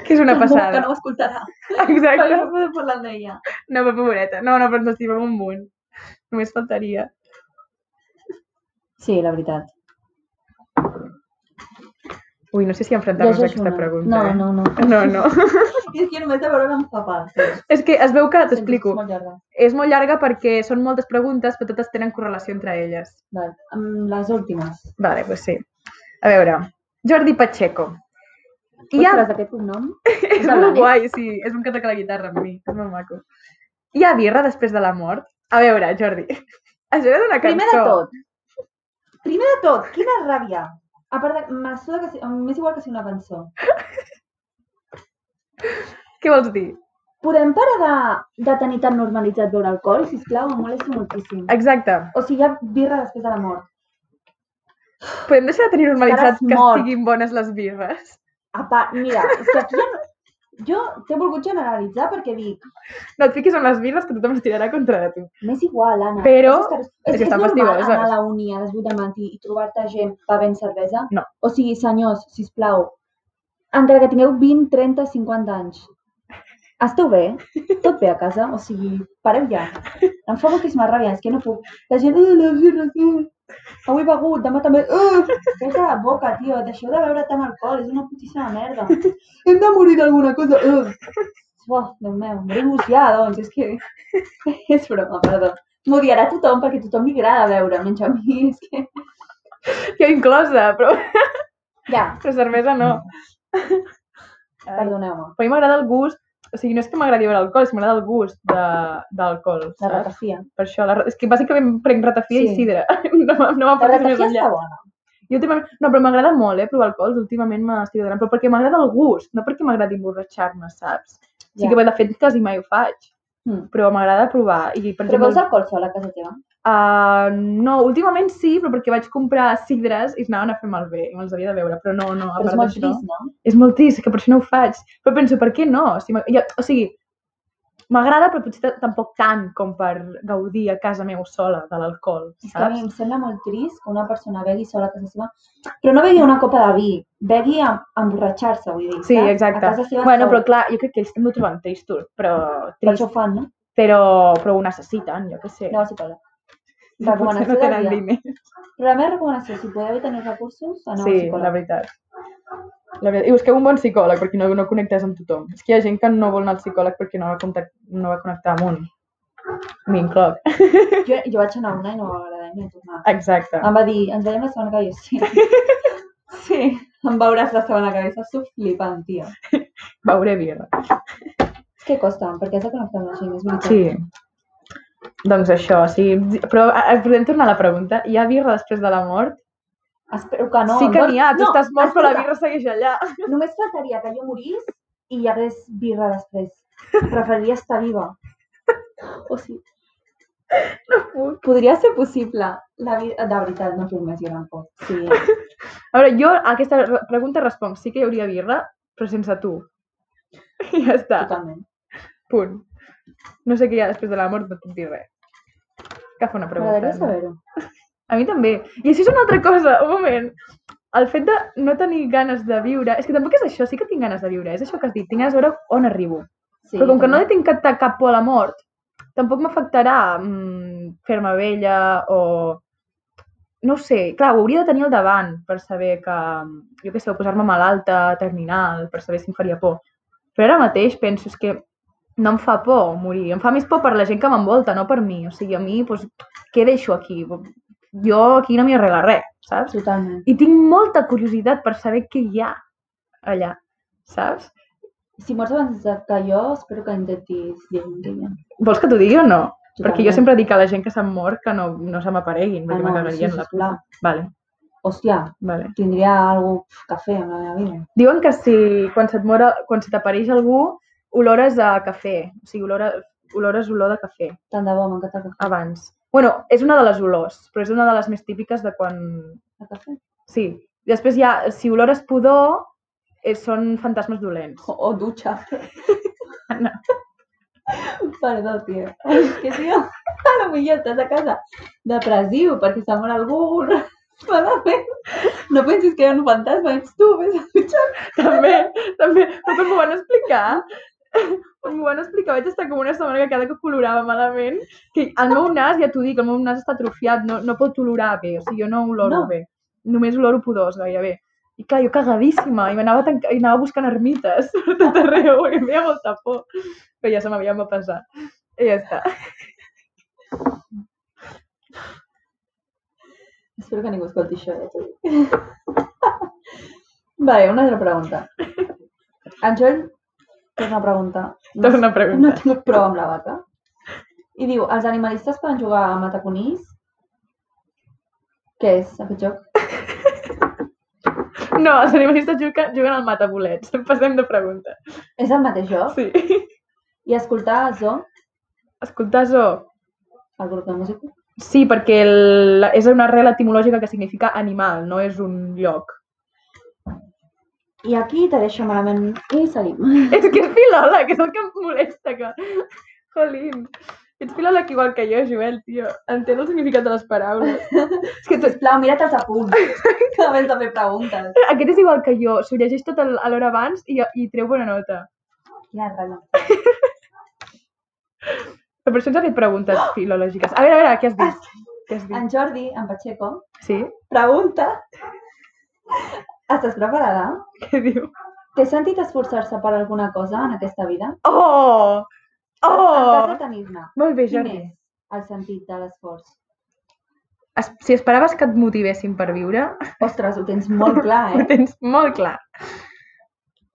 Que és una Que passada. no m'escoltarà. Perquè Exacte. no podem parlar amb ella. No, però pobreta. No, no, però ens estimem un munt. Només faltaria. Sí, la veritat. Ui, no sé si enfrontar-nos a Llegeix aquesta una. pregunta. eh? No, no, no. No, no. És que només de veure-la em fa part. és que es veu que, És t'explico, molt llarga. és molt llarga perquè són moltes preguntes, però totes tenen correlació entre elles. Val. Amb les últimes. Vale, pues sí. A veure, Jordi Pacheco. I Hi ha Ostres, aquest cognom És de molt Blanes? guai, sí. És un que toca la guitarra amb mi. És molt maco. Hi ha birra després de la mort? A veure, Jordi, això era d'una cançó. Primer de tot, primer de tot, quina ràbia. A part de... Me suda que... si- M'és igual que si una cançó. Què vols dir? Podem parar de, de tenir tan normalitzat veure alcohol, sisplau? Em molesta moltíssim. Exacte. O sigui, hi ha birra després de la mort. Podem deixar de tenir normalitzat Estaràs que mort. estiguin bones les birres? A part, mira, és que aquí ja no... Jo t'he volgut generalitzar perquè dic, No et fiquis amb les birres que tothom es tirarà contra de tu. m'és igual, Anna. Però és, que- és, és que és estan normal fastigoses. anar a la uni a les 8 del matí i trobar-te gent bevent cervesa? No. O sigui, senyors, sisplau, encara que tingueu 20, 30, 50 anys, esteu bé? Tot bé a casa? O sigui, pareu ja. Em fa moltíssima ràbia, és que no puc. La gent, eh, les birres, eh, avui he begut, demà també, eh, Fes la boca, tio, deixeu de beure tant alcohol, és una putíssima merda. Hem de morir d'alguna cosa, eh. Uah, Déu meu, moriu-vos ja, doncs, és que... És broma, perdó. M'odiarà tothom perquè a tothom li agrada veure, menys a mi. És que... Jo inclosa, però, Ja, però cervesa no. perdoneu-me. Però a mi m'agrada el gust, o sigui, no és que m'agradi veure alcohol, és que m'agrada el gust de- d'alcohol, La saps? ratafia. Per això, la... ra- és que bàsicament prenc ratafia Sí. i sidra. No, me- no me'n La portes més ratafia enllà. està bona. Jo últimament... No, però m'agrada molt, eh, provar alcohols. Últimament m'estic adonant, però perquè m'agrada el gust, no perquè m'agradi emborratxar-me, saps? Sí Ja. Hmm. que, bé, de fet, quasi mai ho faig. Mm. però m'agrada provar. I, per Però vols alcohol sola a casa teva? Uh, no, últimament sí, però perquè vaig comprar cidres i es anaven a fer malbé i me'ls havia de beure, però no, no, a Però és part molt d'això. trist, no? És molt trist, que per això no ho faig. Però penso, per què no? Si m'ag- jo, o sigui, m'agrada, però potser t- tampoc tant com per gaudir a casa meu sola de l'alcohol, És que a mi saps? em sembla molt trist que una persona begui sola a casa seva, però no begui una copa de vi, begui a, a emborratxar-se, vull dir. Sí, saps? exacte. A casa seva Bueno, però sol. clar, jo crec que ells també ho troben tristos, però, Per trist, això ho fan, no? però, però ho necessiten, jo què sé. Aneu al psicòleg. Potser Recomanació pues, no del tenen dia. diners. Però la meva recomanació, si podeu tenir recursos, aneu al Sí, la psicòleg. veritat. La veritat. I busqueu un bon psicòleg perquè no, no connectes amb tothom. És que hi ha gent que no vol anar al psicòleg perquè no va, contact, no va connectar amb un. M'incloc. Jo, jo vaig anar a una i no m'agradava ni tornar. Exacte. Em va dir, ens veiem la setmana que ve. Sí. sí, em veuràs la setmana que ve. Estàs tu flipant, tia. Beuré birra. És que costa, perquè has de connectar amb la gent, és veritat. Sí. Doncs això, sí. Però eh, podem tornar a la pregunta. Hi ha birra després de la mort? Espero que no. sí em que vol- n'hi ha. Tu No, estàs Ah, mort però la espera. birra segueix allà. Només faltaria que jo morís i hi hagués birra després. Preferiria estar viva. O sigui, no puc. Podria ser possible. La vi... De veritat, no puc més, jo tampoc. Sí. A veure, jo a aquesta re- pregunta responc. Sí que hi hauria birra, però sense tu. I ja està. Totalment. Punt. No sé què hi ha després de la mort, no puc dir res. Que fa una pregunta. M'agradaria no? saber-ho. A mi també. I això és una altra cosa, un moment. El fet de no tenir ganes de viure... És que tampoc és això, sí que tinc ganes de viure. És això que has dit, tinc ganes de veure on arribo. Sí, Però com que no també. li tinc cap, cap por a la mort, tampoc m'afectarà mm, fer-me vella o... No ho sé, clar, ho hauria de tenir al davant per saber que, jo què sé, o posar-me malalta, terminal, per saber si em faria por. Però ara mateix penso és que no em fa por morir, em fa més por per la gent que m'envolta, no per mi. O sigui, a mi, doncs, què deixo aquí? Jo aquí no m'hi arregla res, saps? Totalment. I tinc molta curiositat per saber què hi ha allà, saps? Si mors abans de- que jo, espero que intentis dir un dia. Vols que t'ho digui o no? Perquè jo Totalment. sempre dic a la gent que se'n mor que no, no se m'apareguin, perquè Ah, no, me cagarien sí, la puta. sisplau. Vale, Hòstia, vale. tindria alguna cosa que fer amb la meva vida. Diuen que si quan se't mora, quan se t'apareix algú, olores a cafè. O sigui, olora, olores olor de cafè Tant de bo, m'encanta el cafè. abans. Bueno, és una de les olors, però és una de les més típiques de quan... El cafè. Sí. Després hi ha, si olores pudor, eh, són fantasmes dolents. O, o dutxa. Anna. Perdó, tio. És que, tio, a lo millor estàs a casa depressiu perquè s'ha mort algú. Malament. No pensis que hi ha un fantasma, ets tu, vés a dutxar. també, també, però quan m'ho van explicar, quan m'ho van explicar vaig estar com una setmana que cada que colorava malament, que el meu nas, ja t'ho dic, el meu nas està atrofiat, no, no pot olorar bé, o sigui, jo no oloro No. bé, només oloro pudors gairebé. I clar, jo cagadíssima, i m'anava tanca... i anava buscant ermites per tot arreu, perquè em feia molta por, però ja se m'havia passat. I ja està. Espero que ningú escolti això. Ja t'ho dic. vale, una altra pregunta. En Joel torna a preguntar. No, Torna a no preguntar. tinc prou amb la vaca. I diu, els animalistes poden jugar a mataconís? Què és aquest joc? No, els animalistes juguen, juguen al matabolets. Passem de pregunta. És el mateix joc? Sí. I escoltar el Zo, Escolta, Zo, el grup de música. Sí, perquè el, és una arrel etimològica que significa animal, no és un lloc. I aquí te deixo malament i seguim. És que és filòleg, és el que em molesta. Que... Jolín, ets filòleg igual que jo, Joel, tio. Entén el significat de les paraules. és que tot... Sisplau, mira't els apunts, que abans de fer preguntes. aquest és igual que jo, s'ho llegeix tot el- a l'hora abans i, i treu bona nota. Quina ratlla. Però per això ens ha fet preguntes filològiques. A veure, a veure, què has dit? Què has dit? En Jordi, en Pacheco, Sí? pregunta. Estàs preparada? Què diu? Té sentit esforçar-se per alguna cosa en aquesta vida? Oh! En cas Oh! de tenir-ne. Molt bé, Quin Jordi. és el sentit de l'esforç? Es, si esperaves que et motivessin per viure, Ostres, ho tens molt clar, ho eh? tens molt clar.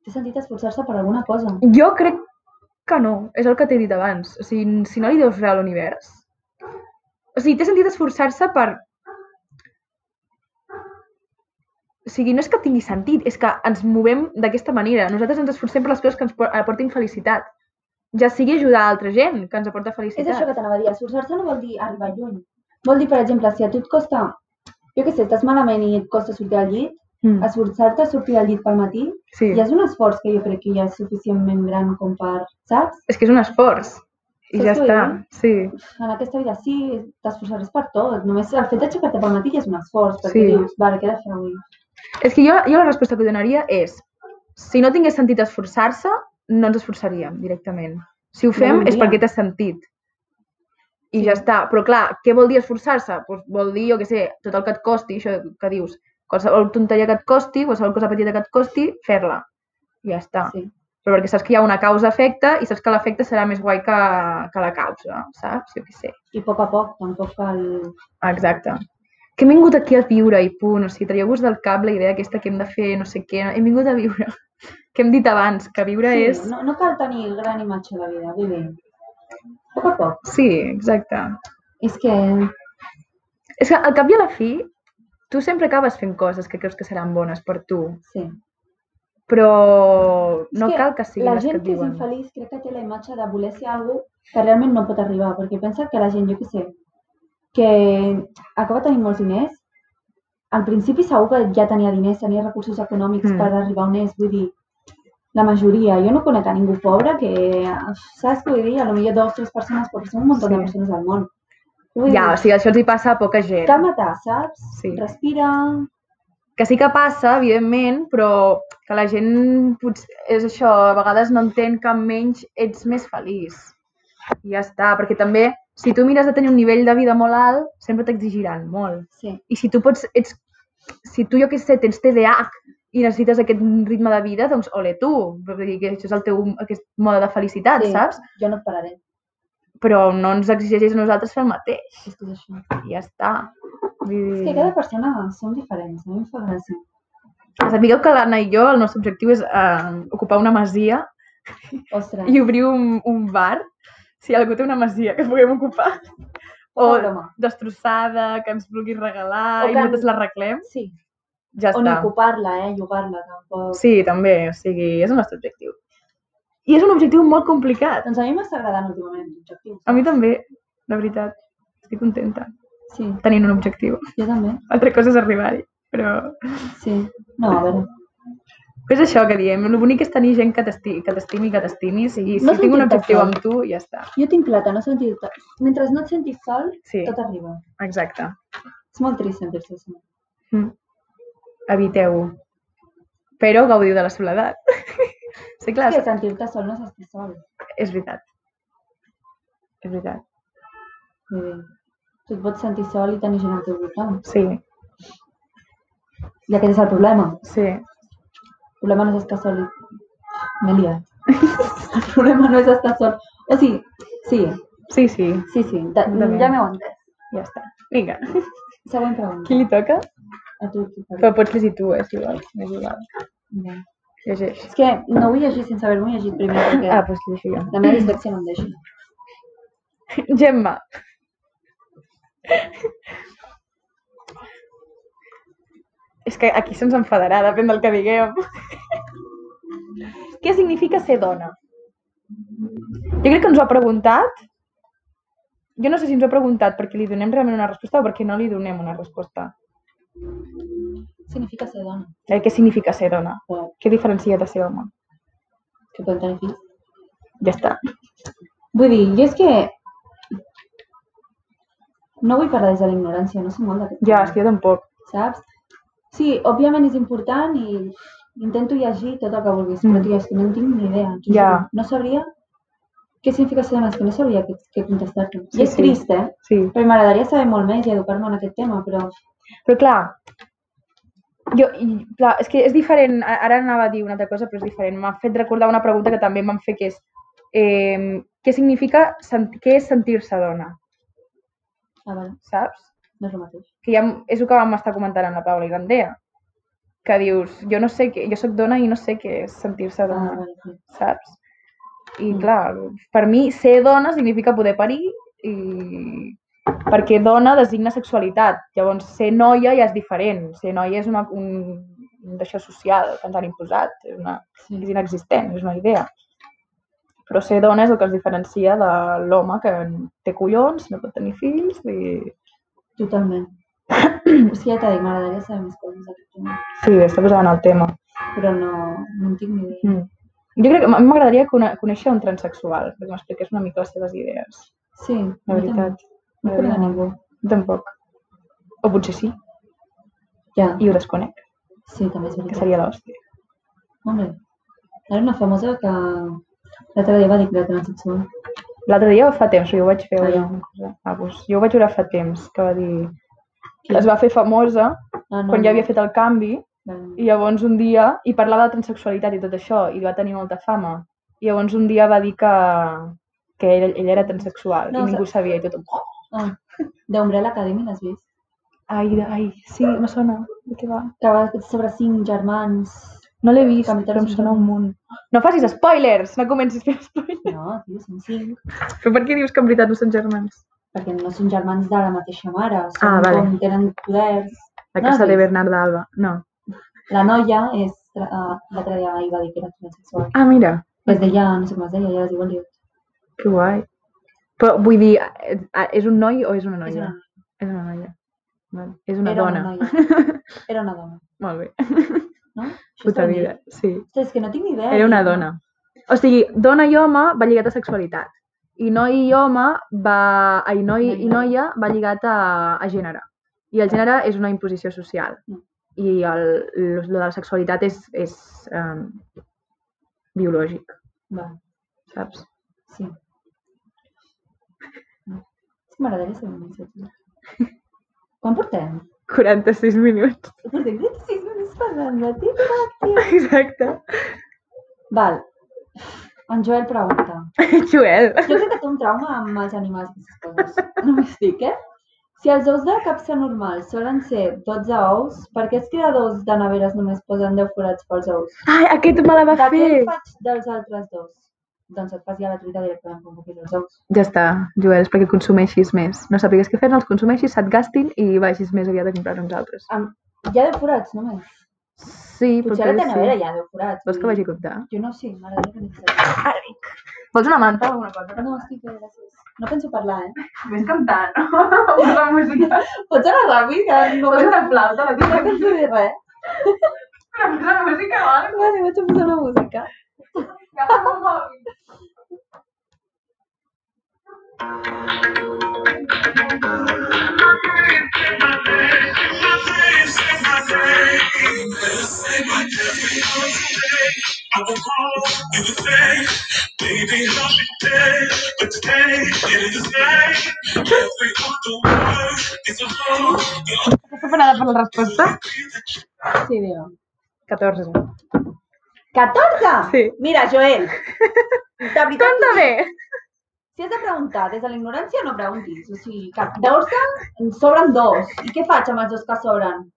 Té sentit esforçar-se per alguna cosa. Jo crec que no, és el que t'he dit abans. O sigui, si no li deus res a l'univers... O sigui, té sentit esforçar-se per... O sigui, no és que tingui sentit, és que ens movem d'aquesta manera. Nosaltres ens esforcem per les coses que ens por- aportin felicitat. ja sigui ajudar altra gent, que ens aporta És això felicitat. que t'anava a dir, esforçar-se no vol dir arribar lluny. Vol dir, per exemple, si a tu et costa, jo què sé, estàs malament i et costa sortir del llit, Mm, esforçar-te a sortir del llit pel matí, sí. ja és un esforç que jo crec que ja és suficientment gran com per, saps? És que és un esforç. I Saps ja què vull està. dir? Sí. En aquesta vida sí, t'esforçaràs per tot. Només el fet d'aixecar-te pel matí ja és un esforç, perquè Sí. dius, vale, què he de fer avui? És que jo, jo la resposta que donaria és si no tingués sentit esforçar-se, no ens esforçaríem directament. Si ho fem Bon és dia. perquè té sentit. I ja està. Però clar, què vol dir esforçar-se? Doncs vol dir, jo què sé, tot el que et costi, això que dius, qualsevol tonteria que et costi, qualsevol cosa petita que et costi, fer-la. I ja està. Sí. Però perquè saps que hi ha una causa-efecte i saps que l'efecte serà més guai que, que la causa, saps? Jo què sé. I a poc a poc, tampoc cal... Exacte. Que hem vingut aquí a viure i punt. O sigui, traieu-vos del cap la idea aquesta que hem de fer, no sé què. Hem vingut a viure. Que hem dit abans, que viure Sí, és... no, no cal tenir gran imatge de vida, vivim. A poc a poc. Sí, exacte. És que És que al cap i a la fi, tu sempre acabes fent coses que creus que seran bones per tu, Sí. però És no cal que siguin la les gent que et que és diuen. infeliç crec que té la imatge de voler ser algú que realment no pot arribar, perquè pensa que la gent, jo què sé, que acaba tenint molts diners, al principi segur que ja tenia diners, tenia recursos econòmics Mm. per arribar on és, vull dir, la majoria, jo no conec a ningú pobre que, saps què vull dir? A lo millor dos, tres persones, però són un munt Sí. de persones al món. Vull Ja, o dir, sigui, això els hi passa a poca gent. calma-te, saps? Sí. Respira, que sí que passa, evidentment, però que la gent potser, és això, a vegades no entén que menys ets més feliç. I ja està, perquè també si tu mires de tenir un nivell de vida molt alt, sempre t'exigiran molt. sí. I si tu pots, ets, si tu, jo què sé, tens TDAH i necessites aquest ritme de vida, doncs ole tu, vull dir que això és el teu aquest mode de felicitat, sí. Ah, saps? Jo no et pararé, Però no ens exigeixis a nosaltres fer el mateix. és que és això. I ja està. Vull dir... És que cada persona són diferents, a mi em fa gràcia. Sapigueu que l'Anna i jo, el nostre objectiu és eh, ocupar una masia Ostres, i obrir un, un bar, si algú té una masia que puguem ocupar, poca o- broma. destrossada, que ens vulguis regalar O i que- nosaltres l'arreglem, Sí, ja o ni està. ocupar-la, eh, llogar-la tampoc. Sí, també, o sigui, és el nostre objectiu. I és un objectiu molt complicat. Doncs a mi m'està agradant últimament l'objectiu. A mi també, la veritat. Estic contenta Sí, tenint un objectiu. jo també, Altra cosa és arribar-hi, però... sí. No, a veure. Però és això que diem, el bonic és tenir gent que t'esti- que t'estimi, que t'estimis, i si No tinc un sentir-te objectiu sol. amb tu, ja està. Jo tinc plata, no sentir-te... Mentre no et sentis sol, Sí, tot arriba. exacte. És molt trist sentir-se sol. Mm. Eviteu-ho. Però gaudiu de la soledat. sí, clar, És que sentir-te sol no és estar sol. és veritat. És veritat. Vull dir, tu et pots sentir sol i tenir gent al teu voltant. Sí, I aquest és el problema. sí. El problema no és estar sol. M'he liat. El problema no és estar sol. O sigui, sí, Sí, sí, sí, sí. De, Endavant. ja m'heu entès. ja està. Vinga, Següent pregunta. qui li toca? A tu, tu, per Però pots llegir tu, eh, si vols. M'és igual. Bé. Llegeix. És que no vull llegir sense haver-ho llegit primer, perquè Ah, doncs llegir jo. la meva distracció no em deixa. Gemma. És que aquí se'ns enfadarà, depèn del que diguem. Què significa ser dona? Jo crec que ens ho ha preguntat. Jo no sé si ens ho ha preguntat perquè li donem realment una resposta o perquè no li donem una resposta. Significa ser dona. Eh, què significa ser dona? Wow, Què diferencia de ser home? que poden tenir fills. Ja està. Vull dir, jo és que... No vull parlar des de la ignorància, no sé molt d'aquest Ja, és que jo tampoc. saps? Sí, òbviament és important i intento llegir tot el que vulguis, Mm. però tia, és que no en tinc ni idea. t'ho Ja. juro. No sabria què significa ser dona, és que no sabria què, què contestar-te. Sí, I és sí. trist, eh? Sí. Perquè m'agradaria saber molt més i educar-me en aquest tema, però Però clar, jo, i, clar, és que és diferent, a- ara anava a dir una altra cosa, però és diferent. M'ha fet recordar una pregunta que també em van fer, que és eh, què significa, sent- què és sentir-se dona, ah, vale, saps? no és el mateix. Que ja m- és el que vam estar comentant amb la Paula i l'Andrea, que dius, jo no sé què, jo sóc dona i no sé què és sentir-se Ah, dona, vale, sí. saps? I Mm. clar, per mi ser dona significa poder parir i perquè dona designa sexualitat. Llavors, ser noia ja és diferent. Ser noia és una, un, un d'això social que ens han imposat. És, una, Sí. és inexistent, és una idea. Però ser dona és el que els diferencia de l'home que té collons, no pot tenir fills i... Totalment. o sigui, ja t'ha dit, m'agradaria saber més coses d'aquest tema, Sí, està posada en el tema. però no, no en tinc ni idea. Mm. Jo crec que a mi m'agradaria cone- conèixer un transexual, perquè m'expliqués una mica les seves idees. Sí, La veritat. No crec a ningú. Tampoc. O potser sí, Ja, i ho desconec, sí, també és que veritat. seria l'hòstia. Home, era una famosa que l'altre dia va dir que era transsexual. L'altre dia o fa temps, jo ho vaig fer Ah, ja. una cosa. Ah, doncs, jo ho vaig veure fa temps, que va dir... Es va fer famosa Ah, quan ja havia fet el canvi Vale. i llavors un dia... I parlava de transexualitat i tot això, i va tenir molta fama. I llavors un dia va dir que, que ell, ell era transexual No, i ningú sabia i tothom... Oh, Ah, d'Umbrella Academy l'has vist? ai, de- ai, sí, me sona. De què va? Que va sobre cinc germans. No l'he vist, Capitans però em sona Submarins. un munt. No facis spoilers! No comencis fent spoilers. No, tio, són cinc. Però per què dius que en veritat no són germans? Perquè no són germans de la mateixa mare. Són Ah, vale. com tenen poders. La No casa has de vist? Bernarda Alba. No. La noia és... Uh, l'altre dia hi va dir que era transsexual. Ah, mira. Es deia, no sé com es deia, ja es diu Olive. Que guai. Però vull dir, eh, eh, és un noi o és una És noia? una, És una noia. Vale. És una era dona. una noia. Era una dona. Molt bé. No? Això Puta està ben vida. dit. Sí. Ostres, és que no tinc ni idea. eh? Era una tio. dona. O sigui, dona i home va lligat a sexualitat. I noi i home va... Ai, noi i noia va lligat a, a gènere. I el gènere és una imposició social. Mm. I el, lo de la sexualitat és, és um, biològic, Va, saps? sí. És que m'agradaria saber més. de tu. Quan portem? 46 minuts. Portem 26 minuts parlant de TikTok, tio. Exacte. Val. En Joel pregunta. Joel. Jo crec que té un trauma amb els animals i aquestes coses. No m'estic, eh? Si els ous de capsa normal solen ser 12 ous, per què els creadors de neveres només posen 10 forats pels ous? Ai, aquest me la va De què fer. en faig dels altres dos? Doncs et fas ja la truita directament com vulguis els ous. Ja està, Joel, és perquè consumeixis més. No sàpigues què fer, no els consumeixis, se't gastin i vagis més aviat a comprar uns altres. Amb... Hi ha 10 forats només. Sí, Potser a la teva nevera hi ha 10 forats. Vols que vull vagi dir, a comptar? Jo no ho sé, m'agradaria que necessités. Ah, Vols una manta o alguna cosa? No, estic bé, gràcies. No penso parlar, eh? Ves cantant, no? Una la música. Pots anar ràpid? Que no, Posa penso- una flauta, la no teva que penso dir res. posa la música o alguna Vale, vaig a posar una música. cosa. un mòbil. Baby, I'll be there, but today it is the day. Every other word is a lie. Estàs preparada per la resposta? Sí, digue'm. 14. 14? Sí. Mira, Joel, de veritat, Compte bé! si has de preguntar des de la ignorància, no preguntis. O sigui, que 14 en sobren dos. I què faig amb els dos que sobren?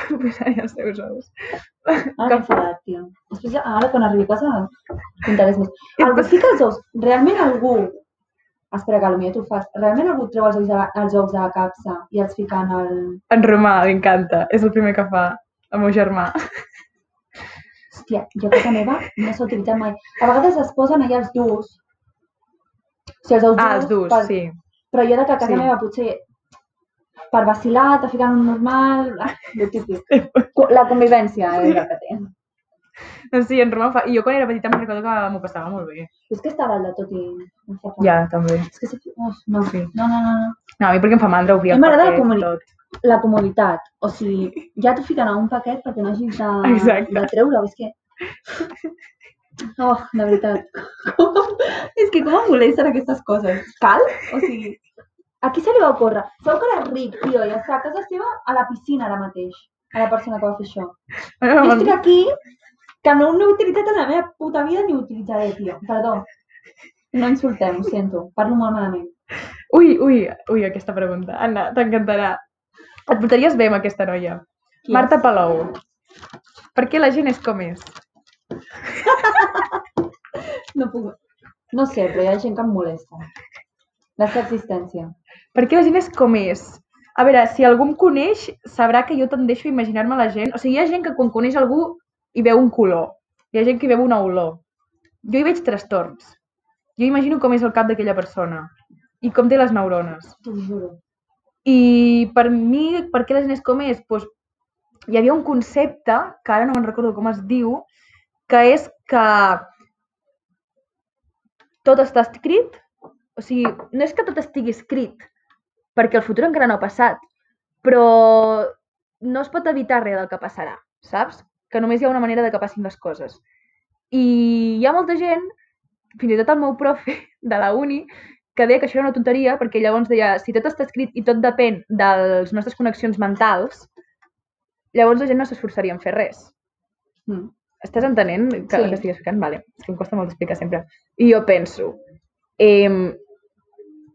Posaré els teus ous. Ara m'he enfadat, tio. Després, ja- ara quan arribi a casa, contaré més. El que sí que els ous, realment algú... Espera, que potser tu fas. Realment algú treu els ous de la, els ous de la capsa i els fica en el... En Romà, m'encanta. És el primer que fa el meu germà. Hòstia, jo a casa meva no s'ha utilitzat mai. A vegades es posen allà els durs. O sigui, els ous Ah, els durs, per- sí. Però jo de que a casa Sí. sí. meva potser per vacilar, te fiquen un normal... ah, Lo típic. Co- La convivència eh, la que té. No, sí, en Romà fa... I jo quan era petita em recordo que m'ho passava molt bé. És que està dalt de tot i... em fa por. Ja, també. És que... se- Uf, no. Sí. no, no, no, no. No, a mi perquè em fa mandra obrir A el mi m'agrada la paquet, comuni- tot. La comoditat. O sigui, ja t'ho fiquen a un paquet perquè no hagis de, Exacte. de treure-ho. És que... Oh, de veritat. Com... És que com em molesten aquestes coses? Cal? O sigui, a qui se li va ocórrer? Segur que era ric, tio, i està a casa seva a la piscina ara mateix, a la persona que va fer això. Bueno, Jo estic aquí que no, no he utilitzat en la meva puta vida ni ho utilitzaré, tio. Perdó. No insultem, ho sento. Parlo molt malament. Ui, ui, ui, aquesta pregunta. Anna, t'encantarà. Et portaries bé amb aquesta noia. Qui Marta és? Palou. Per què la gent és com és? No puc... No sé, però hi ha gent que em molesta. La seva existència. Per què la gent és com és? A veure, si algú em coneix, sabrà que jo tendeixo a imaginar-me la gent. O sigui, hi ha gent que quan coneix algú hi veu un color. Hi ha gent que hi veu una olor. Jo hi veig trastorns. Jo imagino com és el cap d'aquella persona i com té les neurones. T'ho juro. I per mi, per què la gent és com és? Pues, hi havia un concepte, que ara no me'n recordo com es diu, que és que tot està escrit, o sigui, no és que tot estigui escrit, perquè el futur encara no ha passat, però no es pot evitar res del que passarà, saps? Que només hi ha una manera de que passin les coses. I hi ha molta gent, fins i tot el meu profe de la uni, que deia que això era una tonteria perquè llavors deia si tot està escrit i tot depèn de les nostres connexions mentals, llavors la gent no s'esforçaria en fer res. Mm. Estàs entenent que, Sí. sí. que estic explicant? Vale. És que em costa molt explicar sempre. I jo penso, eh,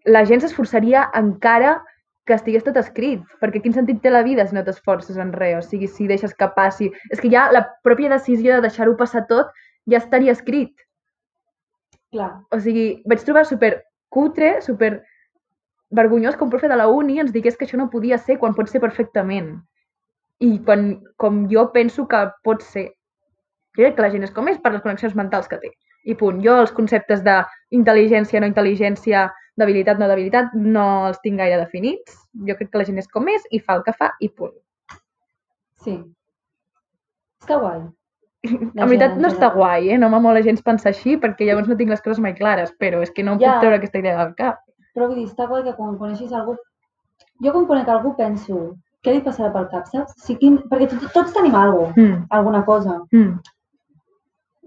la gent s'esforçaria encara que estigués tot escrit, perquè quin sentit té la vida si no t'esforces en res? O sigui, si deixes que passi... És que ja la pròpia decisió de deixar-ho passar tot ja estaria escrit. Clar. O sigui, vaig trobar super cutre, super vergonyós que un profe de la uni ens digués que això no podia ser quan pot ser perfectament. I quan, com jo penso que pot ser. Jo crec que la gent és com és per les connexions mentals que té. I punt. Jo els conceptes d'intel·ligència, no intel·ligència, d'habilitat, no d'habilitat, no els tinc gaire definits. Jo crec que la gent és com és i fa el que fa i punt. Sí. Està guai. en veritat gent en no està general. guai, eh? No m'ha molt la gens pensar així perquè llavors no tinc les coses mai clares, però és que no Ja. puc treure aquesta idea del cap. Però vull dir, està guai que quan coneixis algú... Jo quan conec algú penso, què li passarà pel cap, saps? Si quin... Perquè tot, tots tenim alguna cosa, Mm. alguna cosa, Mm.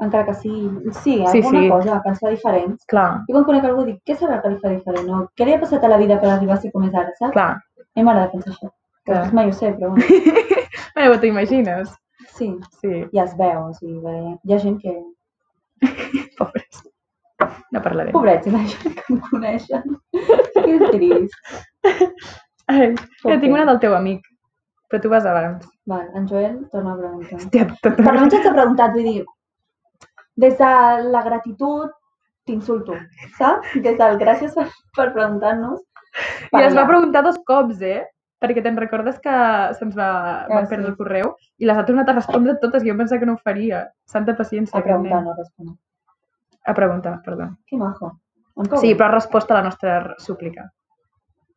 encara que sigui... Sí, Sí, alguna sí. cosa, pensar diferent. Clar, Jo quan conec algú dic, què serà que li fa diferent? O què li ha passat a la vida per arribar a ser com és ara, saps? clar. A mi m'agrada pensar això. Clar. Clar. Mai ho sé, però bueno, Bueno, t'ho imagines. sí, Sí, ja es veu. O sigui, bé, hi ha gent que... pobres. No parlarem. Pobrets, la gent que em coneixen. Que trist. Ai, Pobre. jo tinc una del teu amic, però tu vas abans. Val, en Joel torna a preguntar. Hòstia, tot... Però almenys t'he preguntat, vull dir, des de la gratitud t'insulto, saps? Des del gràcies per, per preguntar-nos. I es va allà. preguntar dos cops, eh? Perquè te'n recordes que se'ns va, va Ah, sí. perdre el correu i les ha tornat a respondre totes i jo pensava que no ho faria. Santa paciència. A aquest preguntar, nen. no a respondre. A preguntar, perdó. Que majo. Em cau Sí, bé, però ha respost a la nostra r- súplica.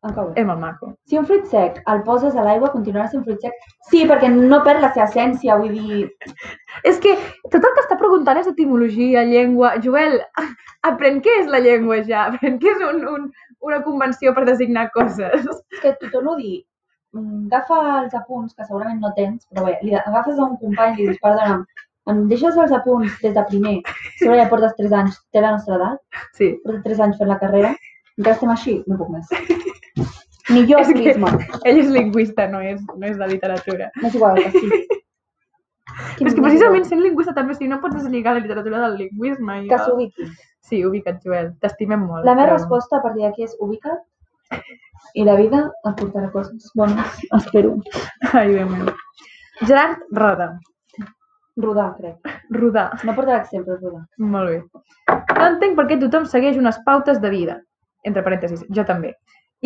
em cau bé. És molt maco. Si un fruit sec el poses a l'aigua, continuarà sent fruit sec? Sí, perquè no perd la seva essència, vull dir... És que tot el que està preguntant és etimologia, llengua... Joel, aprèn què és la llengua ja, aprèn què és un, un, una convenció per designar coses. És que t'ho torno a dir, mm, agafa els apunts, que segurament no tens, però bé, li agafes a un company i li dius, perdona'm, em deixes els apunts des de primer, sobre ja portes 3 anys, té la nostra edat, Sí. porto 3 anys fent la carrera, encara estem així, no puc més. Ni jo És és que- misma, Ell és lingüista, no és, no és de literatura. m'és igual el que sigui. Quin és que precisament sent lingüista també, si no pots deslligar la literatura del lingüisme. I Que s'ubiqui. Sí, ubica't, Joel. T'estimem molt. La meva però- resposta a partir d'aquí és ubica't i la vida et portarà coses bones, espero. Ai, Déu meu. Gerard Roda. Rodar, crec. Rodar. No portarà exemple, rodar. Molt bé. No entenc per què tothom segueix unes pautes de vida, entre parèntesis, jo també,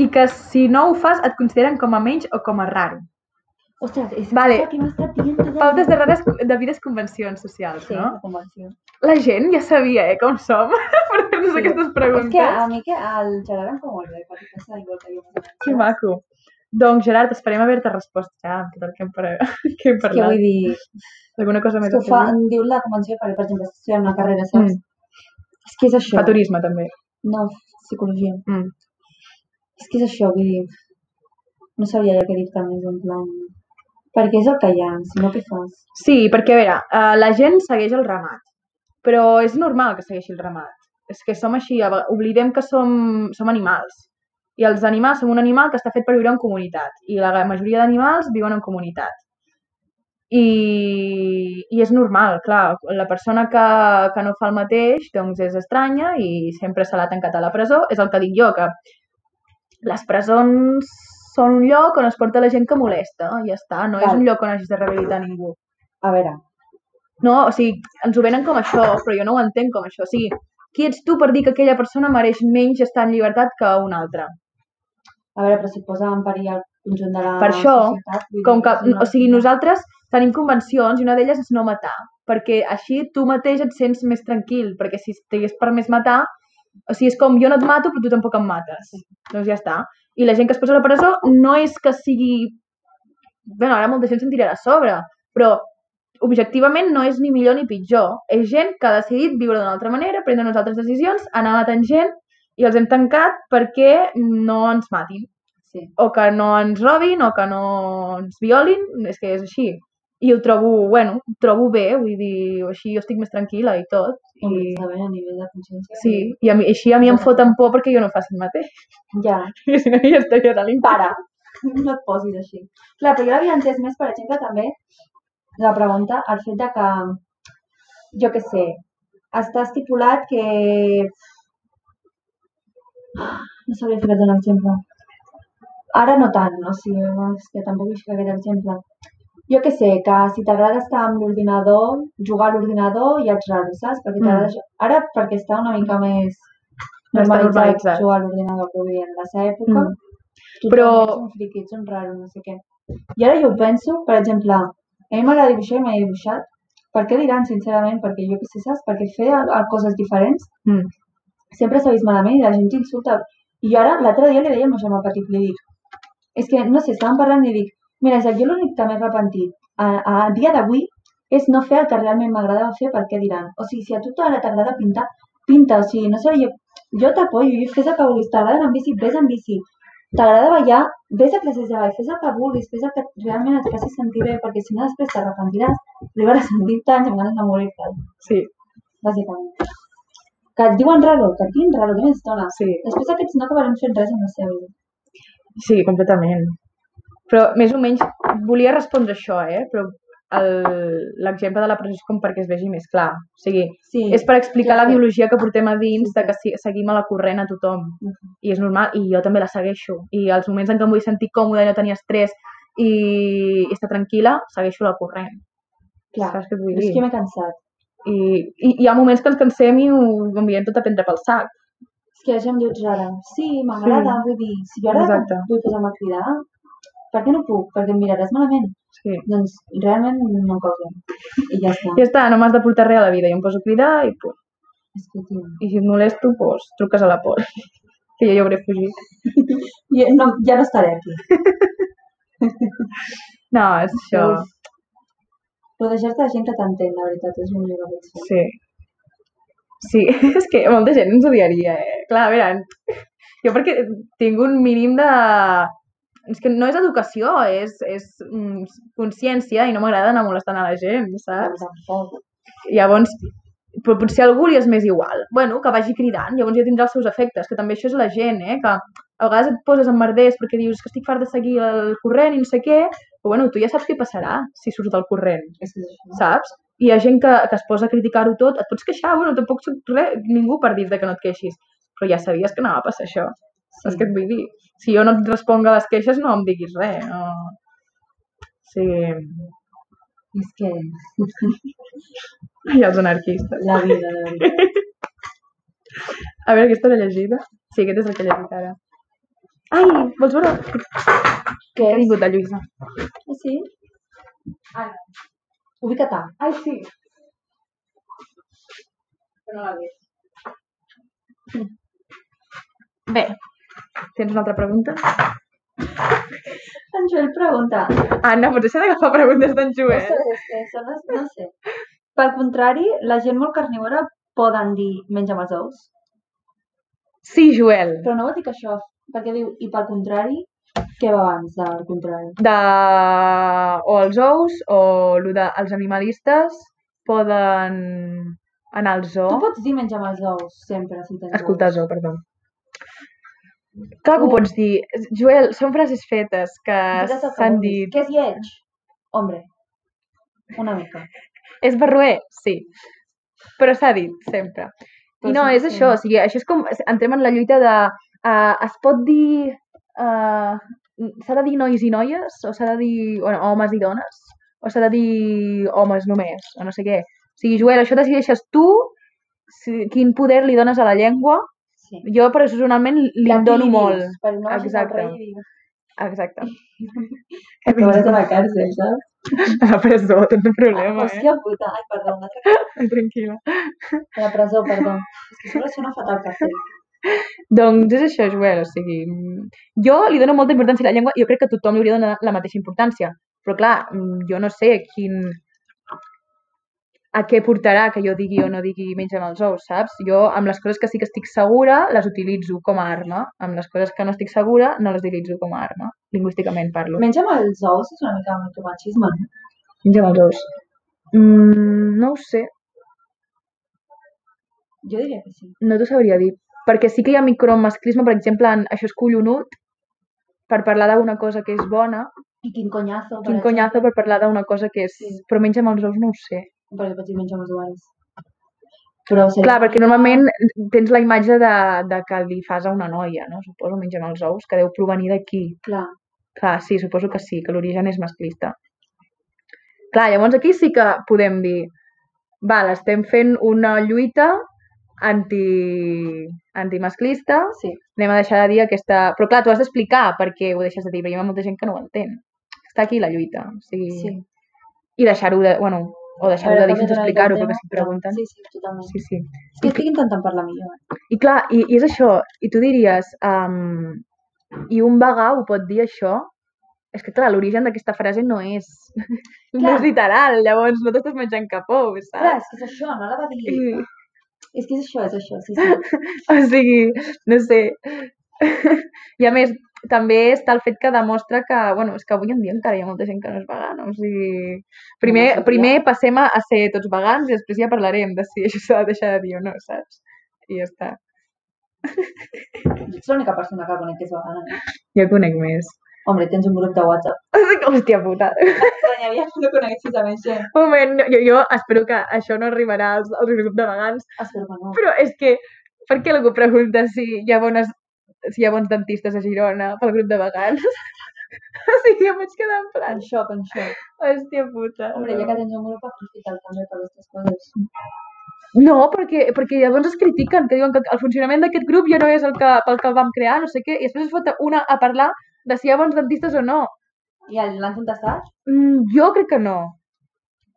i que si no ho fas et consideren com a menys o com a raro. Ostres, és Vale. que m'ha estat dient tot el Pautes de, rares, de vides convencions socials, Sí, no? la convenció. La gent ja sabia, eh, com som, per fer-nos Sí. aquestes És preguntes. que a mi que el Gerard em fa molt bé, perquè pensa igual que jo. Que maco. Doncs, Gerard, esperem haver-te respost ja amb tot el que hem, par... que hem És que parlat. vull dir, Alguna cosa és més que a ho fa, afegir? em diu la convenció, perquè, per exemple, si una carrera, Mm. saps? És que és això. Fa turisme, també. No, psicologia. Mm. És que és això, vull dir, no sabia ja què dir-te més, en plan... Perquè és el que hi ha, si no, què fas? Sí, perquè, a veure, eh, la gent segueix el ramat, però és normal que segueixi el ramat. És que som així, a ve- oblidem que som, som animals. I els animals, som un animal que està fet per viure en comunitat. I la majoria d'animals viuen en comunitat. I, I és normal, clar, la persona que, que no fa el mateix doncs és estranya i sempre se l'ha tancat a la presó. És el que dic jo, que les presons són un lloc on es porta la gent que molesta, ja està, no és Val. un lloc on hagis de rehabilitar ningú. A veure, No, o sigui, ens ho venen com això, però jo no ho entenc com això. O sigui, qui ets tu per dir que aquella persona mereix menys estar en llibertat que una altra? a veure, però si et posa en perill el conjunt de la Per això, societat... vull dir, Com que, és una- o sigui, nosaltres tenim convencions i una d'elles és no matar, perquè així tu mateix et sents més tranquil, perquè si t'hagués permès matar, O sigui, és com jo no et mato, però tu tampoc em mates. Doncs ja està. I la gent que es posa a la presó no és que sigui... Bé, ara molta gent se'n tirarà a sobre, però objectivament no és ni millor ni pitjor. És gent que ha decidit viure d'una altra manera, prendre unes altres decisions, anar matant gent i els hem tancat perquè no ens matin. Sí. O que no ens robin, o que no ens violin, és que és així. I ho trobo, bueno, ho trobo bé, vull dir, així jo estic més tranquil·la i tot. I, Començar bé a nivell de consciència. sí, i a mi, així a mi em foten por perquè jo no faci el mateix. Ja. I si no, ja estaria de l'infant. Para. No et posis així. Clar, però jo l'havia entès més, per exemple, també la pregunta, el fet de que, jo que sé, està estipulat que... No sabria ficar un exemple. Ara no tant, o sigui, és que tampoc hi ficaré aquest exemple. Jo que sé, que si t'agrada estar amb l'ordinador, jugar a l'ordinador i ets raro, saps? Perquè t'agrada... ju- Ara, perquè està una mica Mm. més No està normalitzat normalitzat. jugar a l'ordinador, però vull dir, en la seva època... Mm. Tothom Però- ets un friqui, ets un raro, no sé què. I ara jo ho penso, per exemple, a mi m'agrada dibuixar i m'he dibuixat. Per què diran, sincerament? Perquè jo què sé, saps? Perquè fer a- a coses diferents Mm. sempre s'ha vist malament i la gent t'insulta. I jo ara, l'altre dia li deia al meu germà petit, li dic, és que, no sé, estàvem parlant i dic, mira, Isaac, jo l'únic que m'he repentit a, a dia d'avui és no fer el que realment m'agradava fer perquè diran. O sigui, si a tu ara t'agrada pintar, pinta, o sigui, no sé, jo, jo t'apoyo, jo fes el que vulguis, t'agrada anar amb bici, vés amb bici, t'agrada ballar, vés a classes de ball, fes el que vulguis, fes el que realment et faci sentir bé, perquè si no després t'arrepentiràs, arribaràs a 70 anys amb ganes de morir-te Sí, bàsicament. Que et diuen raro, que et diuen raro, que més estona. Sí. Després aquests no acabarem fent res amb la seva vida. sí, completament. Però més o menys volia respondre això, eh? Però el- l'exemple de la presó és com perquè es vegi més clar. O sigui, Sí, és per explicar clar la que- ah, biologia que portem a dins, de que si- seguim a la corrent a tothom. Uh-huh. I és normal, i jo també la segueixo. I els moments en què em vull sentir còmode i no tenir estrès i, i estar tranquil·la, segueixo la corrent. clar. Saps què et vull És dir? que m'he cansat. I, i, hi ha moments que ens cansem i ho, ho enviem tot a prendre pel sac. És que la gent em diu rara. Sí, m'agrada, vull dir, si jo ara Exacte. vull posar-me a cridar, per què no puc? Perquè em miraràs malament. Sí. Doncs realment no em causa. I ja està. Ja està, no m'has de portar res a la vida. Jo em poso a cridar i, pum. Escolti. i si et molesto, doncs, truques a la por. Que jo ja hauré fugit. I no, ja no estaré aquí. No, és això. Uf. Però deixar-te la gent que t'entén, la veritat, és un llibre que Sí. Sí, és que molta gent ens odiaria, eh? Clar, a veure, jo perquè tinc un mínim de... És que no és educació, és, és mm, consciència i no m'agrada anar molestant a la gent, saps? Tampoc. Llavors, però potser a algú li és més igual. Bueno, que vagi cridant, llavors ja tindrà els seus efectes, que també això és la gent, eh? Que a vegades et poses en merders perquè dius que estic fart de seguir el corrent i no sé què, però bueno, tu ja saps què passarà si surts del corrent, És que és això. saps? Hi ha gent que, que es posa a criticar-ho tot, et pots queixar, bueno, tampoc soc re, ningú per dir-te que no et queixis, però ja sabies que anava a passar això, sí. saps què et vull dir? Si jo no et responc a les queixes no em diguis res, no... Sí, És que... i els anarquistes. La vida, la veritat. A veure, aquesta l'he llegida. Sí, aquest és el que he llegit ara. Ai, vols veure? Què Que ha és? vingut la Lluïsa. Ah, sí? Ara. Ubica't. Ai, sí. Bé, tens una altra pregunta? En Joel pregunta. Anna, Ah, potser s'ha d'agafar preguntes d'en Joel. Ostres, és que són les... No sé. Pel contrari, la gent molt carnívora poden dir menja els ous, Sí, Joel. però no vol dir que això, perquè diu, i pel contrari, què va abans del contrari? De... O els ous, o lo de... els animalistes poden anar al zoo. Tu pots dir menja els ous sempre, si tens Escoltar ous. zoo, perdó. Clar que ho pots dir. Joel, són frases fetes que Digues el que s'han vulguis. dit. Què és lleig? Hombre, una mica. És barruer, sí. Però s'ha dit sempre. I Però Doncs no, sí, és sí. això, o sigui, això és com... Entrem en la lluita de... Uh, es pot dir... Uh, s'ha de dir nois i noies? O s'ha de dir bueno, homes i dones? O s'ha de dir homes només? O no sé què. O sigui, Joel, això decideixes tu si, quin poder li dones a la llengua. Sí. Jo, personalment, li en I aquí dono dius, molt. Però no vagis al Exacte. rei i dius, Exacte. Acabaràs a la càrcel, saps? A la presó, tens un problema, eh? Hòstia puta. Ai, perdó, una altra Tranquil·la. A la presó, perdó. És que a sobre sona fatal cafè. Doncs és això, Joel, o sigui... mm, Jo li dono molta importància a la llengua i jo crec que tothom li hauria de donar la mateixa importància. Però clar, mm, jo no sé quin... a què portarà que jo digui o no digui menys amb els ous, saps? Jo amb les coses que sí que estic segura les utilitzo com a arma. Amb les coses que no estic segura no les utilitzo com a arma. Lingüísticament parlo. Menys amb els ous és una mica micromachisme. no? Menys amb els ous. Mm, no ho sé. Jo diria que sí. No t'ho sabria dir. Perquè sí que hi ha micromasclisme, per exemple, en això és collonut, per parlar d'una cosa que és bona, I quin conyazo. per quin exemple. conyazo per parlar d'una cosa que és... Però menys amb els ous no ho sé. Perquè pots dir menys amb els ous. Però seria... Clar, perquè normalment tens la imatge de, de que li fas a una noia, no? Suposo, menys amb els ous, que deu provenir d'aquí. Clar. Clar, sí, suposo que sí, que l'origen és masclista. Clar, llavors aquí sí que podem dir val, estem fent una lluita anti... antimasclista, Sí. anem a deixar de dir aquesta... Però clar, tu has d'explicar per què ho deixes de dir, perquè hi ha molta gent que no ho entén. Està aquí la lluita, o sigui... Sí. I deixar-ho de... Bueno, o deixar-ho de dir sense explicar-ho, perquè si et pregunten... Sí, sí, totalment. Sí, sí. És que estic intentant parlar millor. eh? I clar, i, i és això, i tu diries, um, i un vegà ho pot dir això? És que clar, l'origen d'aquesta frase no és, no Clar. és literal, llavors no t'estàs menjant cap ou, Clar, saps? és que és això, no la va dir. I, És que és això, és això, sí, sí. o sigui, no sé. I a més, també està el fet que demostra que, bueno, és que avui en dia encara hi ha molta gent que no és vegana, o sigui... Primer, Bueno, sí, primer passem a, a ser tots vegans i després ja parlarem de si això s'ha de deixar de dir o no, saps? I ja està. Jo ets l'única persona que conec que és vegana. no? Jo conec més. Hombre, tens un grup de WhatsApp. Hòstia puta. Estranyaria que no coneguessis a més gent. Un moment, no, jo, jo espero que això no arribarà als, als grups de vegans, Espero que no. però és que per què algú pregunta si hi ha bones si hi ha bons dentistes a Girona pel grup de vegans? o sigui, em vaig quedar en plan, En xoc, en xoc. hòstia puta. Hombre, ja que tens un grup, aprofita'l també per aquestes coses. No, perquè, perquè llavors es critiquen, que diuen que el funcionament d'aquest grup ja no és el que, pel que el vam crear, no sé què, i després es fot una a parlar de si hi ha bons dentistes o no. I el- l'han contestat? Mm, jo crec que no.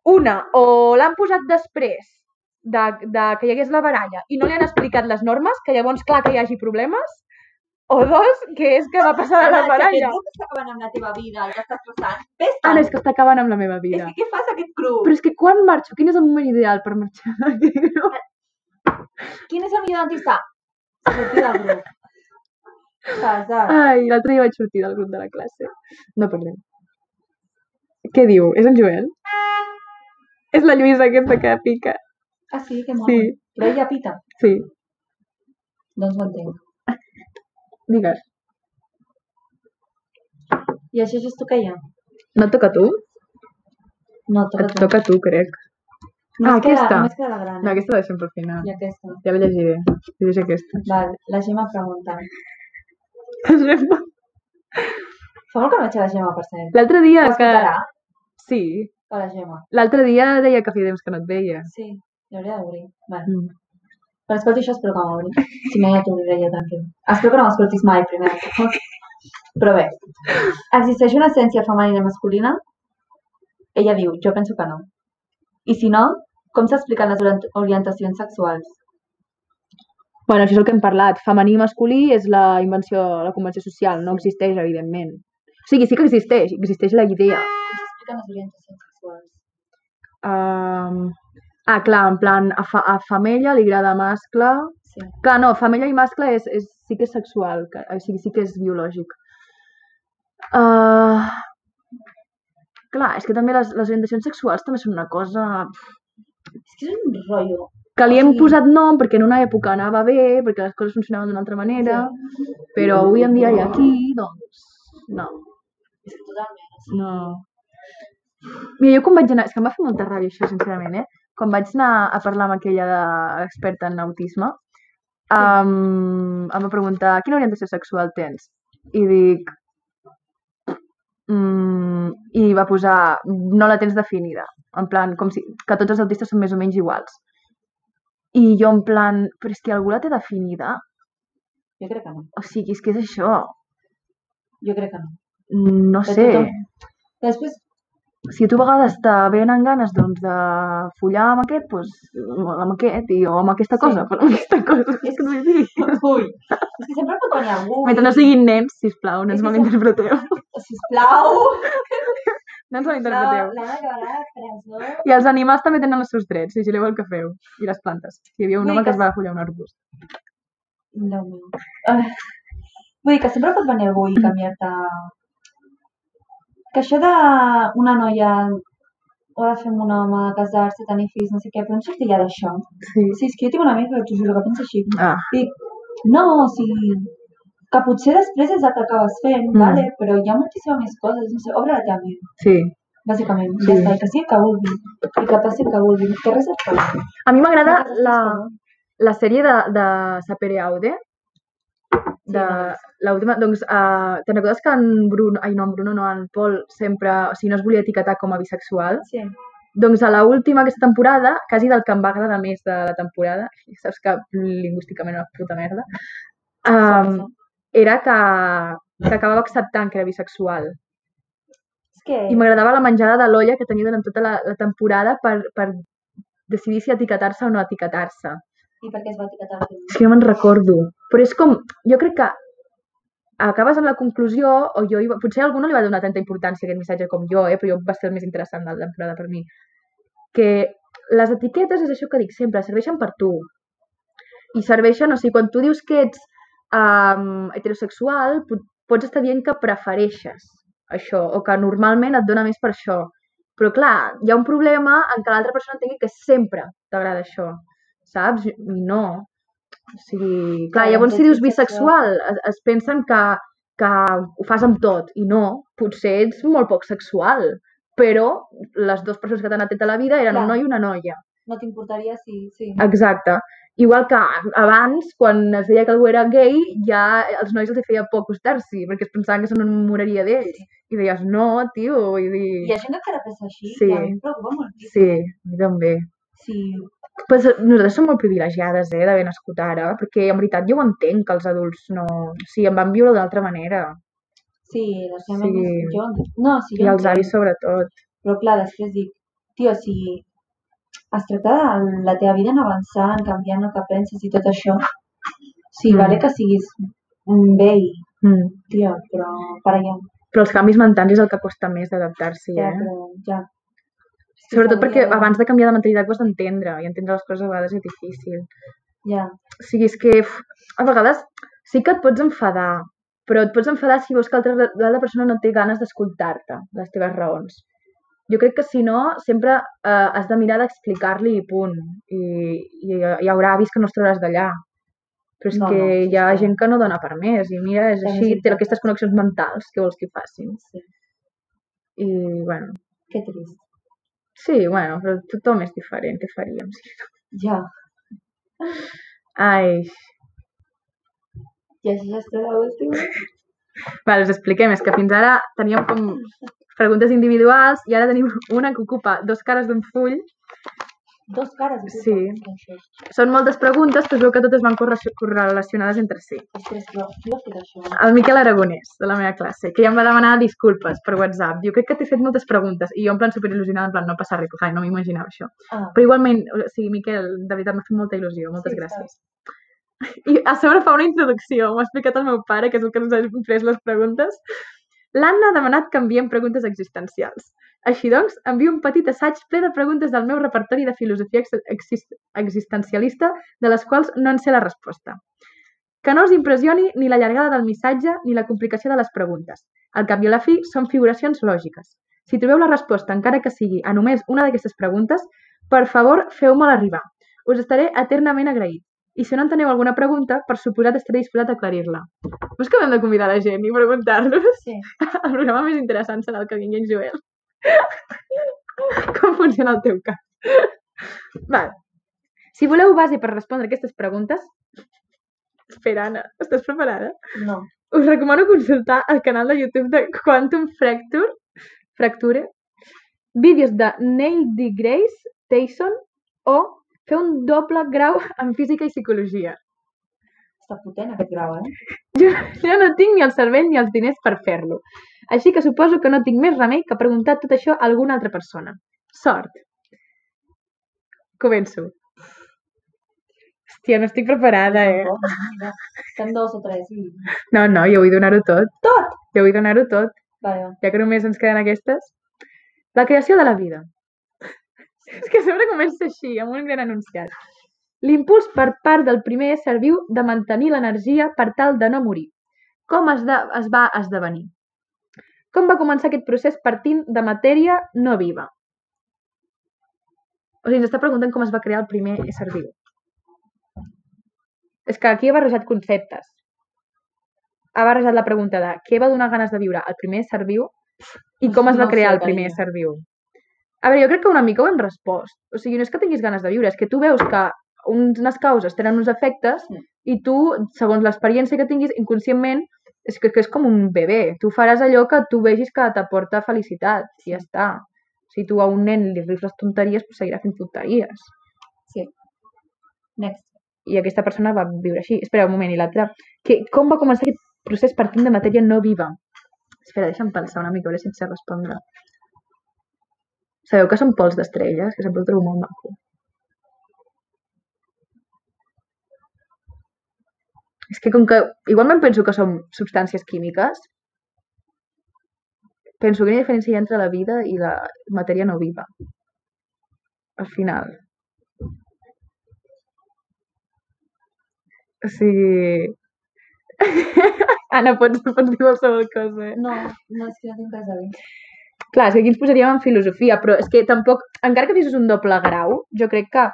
Una, o l'han posat després de, de que hi hagués la baralla i no li han explicat les normes, que llavors clar que hi hagi problemes, o dos, que és que va passar de la Home, Ah, és baralla. que aquest grup està acabant amb la teva vida, ja estàs passant. Ves-te'n. Ara és que està acabant amb la meva És vida. que què fas aquest grup? Però és que quan marxo? Quin és el moment ideal per marxar? Quin és el millor dentista? Sortir del grup. Pesat. Ai, l'altre dia vaig sortir del grup de la classe. No parlem. Què diu? És en Joel? És la Lluïsa aquesta que pica. Ah, sí, que mono. Sí, Però ella pita. sí. Doncs ho entenc. Digues. I això és tu que hi ha? No et toca a tu? No, toca Et tu. toca a tu, crec. Només Ah, queda- aquesta. Només queda la gran. No, aquesta la deixem per final. I aquesta. Ja la llegiré. Llegeix aquesta. Val, la Gemma preguntant. Fa molt que no veig a la Gemma, per cert. L'altre dia Ho que... escoltarà, Sí. a la Gemma. L'altre dia deia que feia temps que no et veia. Sí, l'hauria d'obrir. Vale. Mm. Quan escolti això, espero que m'obri. Si no, ja t'obriré jo tranquil. Espero Ah, que no m'escoltis mai, primer. Però bé, existeix una essència femenina i masculina? Ella diu, jo penso que no. I si no, com s'expliquen les orient- orientacions sexuals? Bueno, això és el que hem parlat. Femení i masculí és la invenció, la convenció social. No existeix, evidentment. O sigui, sí que existeix. Existeix la idea. Com s'expliquen les orientacions sexuals? Um... Ah, clar, en plan, a, fa, a femella li agrada mascle. Sí. Clar, no, femella i mascle és, és, sí que és sexual, que, o sigui, sí que és biològic. Uh... Clar, és que també les, les orientacions sexuals també són una cosa És que és un rotllo. que li hem Sí. posat nom perquè en una època anava bé, perquè les coses funcionaven d'una altra manera, però avui en dia i aquí, doncs, no, És que totalment. o sigui, no. Mira, jo quan vaig anar, és que em va fer molta ràbia això, sincerament, eh? Quan vaig anar a parlar amb aquella de- experta en autisme, um, em va preguntar quina orientació sexual tens? I dic... Mm, I va posar, no la tens definida. En plan, com si, que tots els autistes són més o menys iguals. I jo en plan, però és que algú la té definida? Jo crec que no. O sigui, és que és això. Jo crec que no. no De sé, tothom. Després, si a tu a vegades te venen ganes doncs, de follar amb aquest, doncs, amb aquest, i, o amb aquesta Sí. cosa, però amb aquesta cosa, és que no vull dir. ui, és que sempre pot venir algú. Mentre no siguin nens, sisplau, no ens Sí, sí, mal sí. interpreteu. Eh, Sisplau, No ens mal interpreteu. l'Anna acabarà a presó. I els animals també tenen els seus drets, vigileu el que feu. I les plantes. Hi havia un Vull home dir que que es va follar un arbust. No, no. Ah, Vull dir que sempre pot venir algú Mm. i canviar-te... Que això d'una noia o de fer amb un home, casar-se, tenir fills, no sé què, però no sortirà d'això. Sí. Sí, és que jo tinc una amiga que t'ho juro que pensa així. Ah, No, o sigui, que potser després és el que acabes fent, Mm. vale? però hi ha moltíssimes més coses, no sé, obre la teva ment, sí. bàsicament, Sí. sí. ja està, i que sigui el que vulgui, i que passi el que vulgui, que res et passa. A mi m'agrada Moltes la, coses. la sèrie de, de Sapere Aude, de l'última, doncs, uh, te'n recordes que en Bruno, ai no, en Bruno no, en Pol sempre, o sigui, no es volia etiquetar com a bisexual? Sí. Doncs a l'última aquesta temporada, quasi del que em va agradar més de la temporada, ja saps que lingüísticament era una puta merda, Ah, um, era que, que acabava acceptant que era bisexual. És que... I m'agradava la menjada de l'olla que tenia durant tota la, la temporada per, per decidir si etiquetar-se o no etiquetar-se. I perquè es va etiquetar el És que no me'n recordo. Però és com, jo crec que acabes amb la conclusió, o jo, hi va- potser a algú no li va donar tanta importància a aquest missatge com jo, eh, però jo va ser el més interessant de la temporada per mi, que les etiquetes és això que dic sempre, serveixen per tu. I serveixen, o sigui, quan tu dius que ets um, heterosexual, pot, pots estar dient que prefereixes això, o que normalment et dona més per això. Però clar, hi ha un problema en què l'altra persona entengui que sempre t'agrada això, saps? I no, o sigui, clar, Clar, llavors si doncs dius és bisexual es, es pensen que, que ho fas amb tot i no, potser ets molt poc sexual, però les dues persones que t'han atret a la vida eren Clar. un noi i una noia. No t'importaria si... Sí. Exacte. Igual que abans, quan es deia que algú era gay, ja els nois els hi feia por acostar-s'hi, perquè es pensaven que s'enamoraria d'ells. I deies, no, tio, vull Hi dir... ha gent que encara pensa així, Sí. sí. i a mi em preocupa moltíssim. Sí, a mi també. Sí. Pues, nosaltres som molt privilegiades, eh, d'haver nascut ara, perquè en veritat jo ho entenc, que els adults no... O sigui, em van viure d'altra manera. Sí, les Sí. nenes... Jo... No, sí, jo I els entenc. avis sobretot. Però clar, després dic, tio, si es tracta de la teva vida en avançar, en canviar en el que penses i tot això, sí, Mm. mm. vale que siguis un vell, Mm. tio, però per allà, Però els canvis mentals és el que costa més d'adaptar-s'hi, ja, eh? però ja. Sí, Sobretot s'hauria perquè de- abans de canviar de mentalitat ho has d'entendre i entendre les coses a vegades és difícil. Ja, O sigui, és que uf, a vegades sí que et pots enfadar, però et pots enfadar si veus que altra- l'altra persona no té ganes d'escoltar-te, les teves raons. Jo crec que si no, sempre eh, has de mirar d'explicar-li i punt. I, i eh, hi haurà avis que no els trauràs d'allà. Però és No, no, que no, sí, hi ha sí. gent que no dona per més. I mira, és També és així, té veritat. aquestes connexions mentals que vols que hi facin. sí, I, bueno, que trist. sí, bueno, però tothom és diferent, què faríem? Sí. Ja, Ai, i això ja està l'última. Vale, us expliquem, és que fins ara teníem com preguntes individuals i ara tenim una que ocupa dos cares d'un full. Dos cares. i tot, Sí. això. Són moltes preguntes, però es veu que totes van corre- correlacionades entre si. Ostres, però qui va fer això? El Miquel Aragonès, de la meva classe, que ja em va demanar disculpes per WhatsApp. Diu, crec que t'he fet moltes preguntes. I jo, en plan, superil·lusionada, en plan, no passa res, clar, no m'imaginava això. Ah, Però igualment, o sigui, Miquel, de veritat m'ha fet molta il·lusió, moltes Sí, està gràcies. I a sobre fa una introducció, m'ho ha explicat el meu pare, que és el que ens ha fet les preguntes. L'Anna ha demanat que enviem preguntes existencials. Així doncs, envio un petit assaig ple de preguntes del meu repertori de filosofia ex- exist existencialista, de les quals no en sé la resposta. Que no us impressioni ni la llargada del missatge ni la complicació de les preguntes. Al cap i a la fi, són figuracions lògiques. Si trobeu la resposta, encara que sigui a només una d'aquestes preguntes, per favor, feu-me-la arribar. Us estaré eternament agraït. I si no en teniu alguna pregunta, per suposat estaré disposat a aclarir-la. No és que vam de convidar la gent i preguntar-los? sí. El programa més interessant serà el que vingui en Joel. Com funciona el teu cas? Val. Si voleu base per respondre aquestes preguntes... Espera, Anna, estàs preparada? No. us recomano consultar el canal de YouTube de Quantum Fracture, Fracture vídeos de Neil deGrasse Tyson o fer un doble grau en física i psicologia. Està potent aquest grau, eh? Jo no tinc ni el cervell ni els diners per fer-lo. Així que suposo que no tinc més remei que preguntar tot això a alguna altra persona. Sort. Començo. Hòstia, no estic preparada, eh? Oh, mira, estem dos o tres i... No, no, jo vull donar-ho tot. Tot? Jo vull donar-ho tot, Vale, va. ja que només ens queden aquestes. La creació de la vida. És que sempre comença així, amb un gran enunciat. L'impuls per part del primer ésser viu de mantenir l'energia per tal de no morir. Com es, de, es va esdevenir? Com va començar aquest procés partint de matèria no viva? O sigui, ens està preguntant com es va crear el primer ésser viu. És que aquí he barrejat conceptes. Ha barrejat la pregunta de què va donar ganes de viure al primer ésser viu i com es No va ho sé, crear el primer carinyo. ésser viu. A veure, jo crec que una mica ho hem respost. O sigui, no és que tinguis ganes de viure, és que tu veus que unes causes tenen uns efectes Mm. i tu, segons l'experiència que tinguis, inconscientment, és que, que és com un bebè. Tu faràs allò que tu vegis que t'aporta felicitat i ja està. Si tu a un nen li rifles tonteries, pues seguirà fent tonteries. Next. I aquesta persona va viure així. Espera un moment, i l'altra... Que- Com va començar aquest procés partint de matèria no viva? Espera, deixa'm pensar una mica, a veure si et sé respondre. Sabeu que són pols d'estrelles? Que sempre ho trobo molt maco. És que com que igualment penso que són substàncies químiques, penso que hi ha diferència hi ha entre la vida i la matèria no viva. Al final. O sigui... Anna, pots, pots dir qualsevol cosa. No, no, és que no tinc res a dir. Clar, és que aquí ens posaríem en filosofia, però és que tampoc... Encara que fessis un doble grau, jo crec que...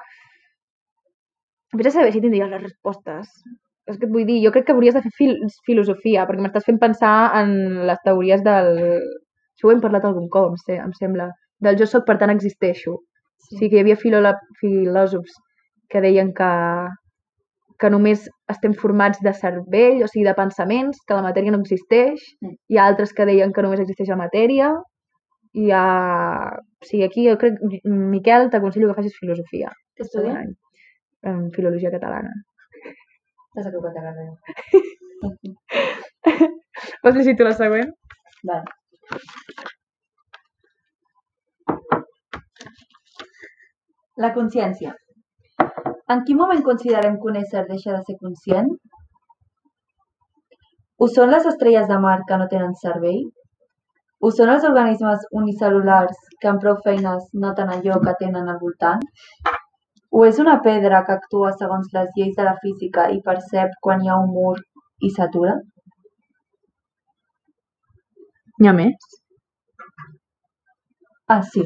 Vés a saber si tindries les respostes. És que et vull dir, jo crec que hauries de fer fil filosofia, perquè m'estàs fent pensar en les teories del... Això ho hem parlat algun cop, em, sé, em sembla. Del jo sóc, per tant existeixo. Sí. O sigui que hi havia filola... filòsofs que deien que que només estem formats de cervell, o sigui, de pensaments, que la matèria no existeix. Mm. Hi ha altres que deien que només existeix la matèria. Hi ha... O sigui, aquí jo crec... Mi- Miquel, t'aconsello que facis filosofia. Què segon estudies? any, en filologia catalana. T'has acabat de carrera. Vols llegir tu la següent? Vale. La consciència. En quin moment considerem que un ésser deixa de ser conscient? Ho són les estrelles de mar que no tenen cervell? Ho són els organismes unicel·lulars que amb prou feines noten allò que tenen al voltant? O és una pedra que actua segons les lleis de la física i percep quan hi ha un mur i s'atura? N'hi ha més? Ah, sí.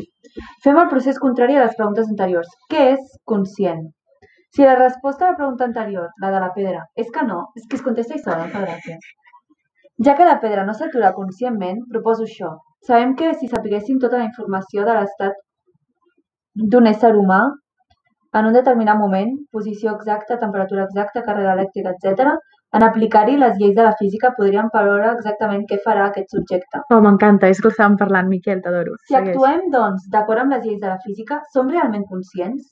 Fem el procés contrari a les preguntes anteriors. Què és conscient? Si la resposta a la pregunta anterior, la de la pedra, és que no, és que es contesta i sola, em fa gràcia. Ja que la pedra no s'atura conscientment, proposo això. Sabem que si sapiguéssim tota la informació de l'estat d'un ésser humà en un determinat moment, posició exacta, temperatura exacta, càrrega elèctrica, etc., en aplicar-hi les lleis de la física podríem preveure exactament què farà aquest subjecte. Oh, m'encanta, és que estàvem parlant, Miquel, t'adoro. Si actuem, doncs, d'acord amb les lleis de la física, som realment conscients?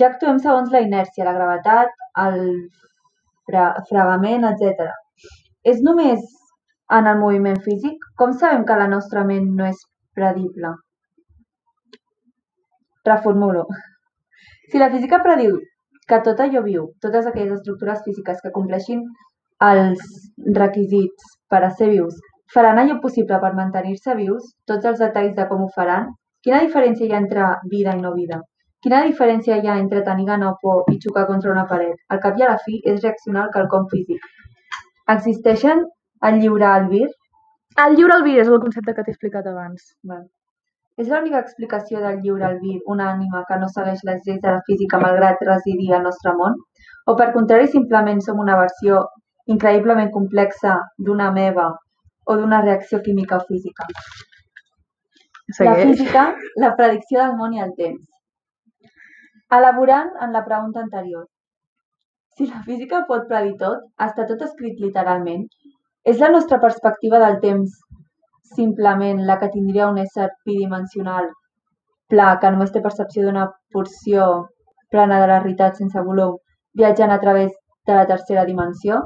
Ja actuem segons la inèrcia, la gravetat, el fre fregament, etc. És només en el moviment físic? Com sabem que la nostra ment no és predible? Reformulo. Si la física prediu que tot allò viu, totes aquelles estructures físiques que compleixin els requisits per a ser vius faran allò possible per mantenir-se vius, tots els detalls de com ho faran, quina diferència hi ha entre vida i no vida? Quina diferència hi ha entre tenir gana o por i xocar contra una paret? Al cap i a la fi és reaccionar al quelcom físic. Existeixen el lliure albir? El lliure albir és el concepte que t'he explicat abans. Bueno. És l'única explicació del lliure albir una ànima que no segueix les lleis de la física malgrat residir al nostre món? O per contrari, simplement som una versió increïblement complexa d'una meva o d'una reacció química o física? La Segueix. física, la predicció del món i el temps. Elaborant en la pregunta anterior. Si la física pot predir tot, està tot escrit literalment, és la nostra perspectiva del temps simplement la que tindria un ésser bidimensional pla que només té percepció d'una porció plana de la realitat sense volum, viatjant a través de la tercera dimensió?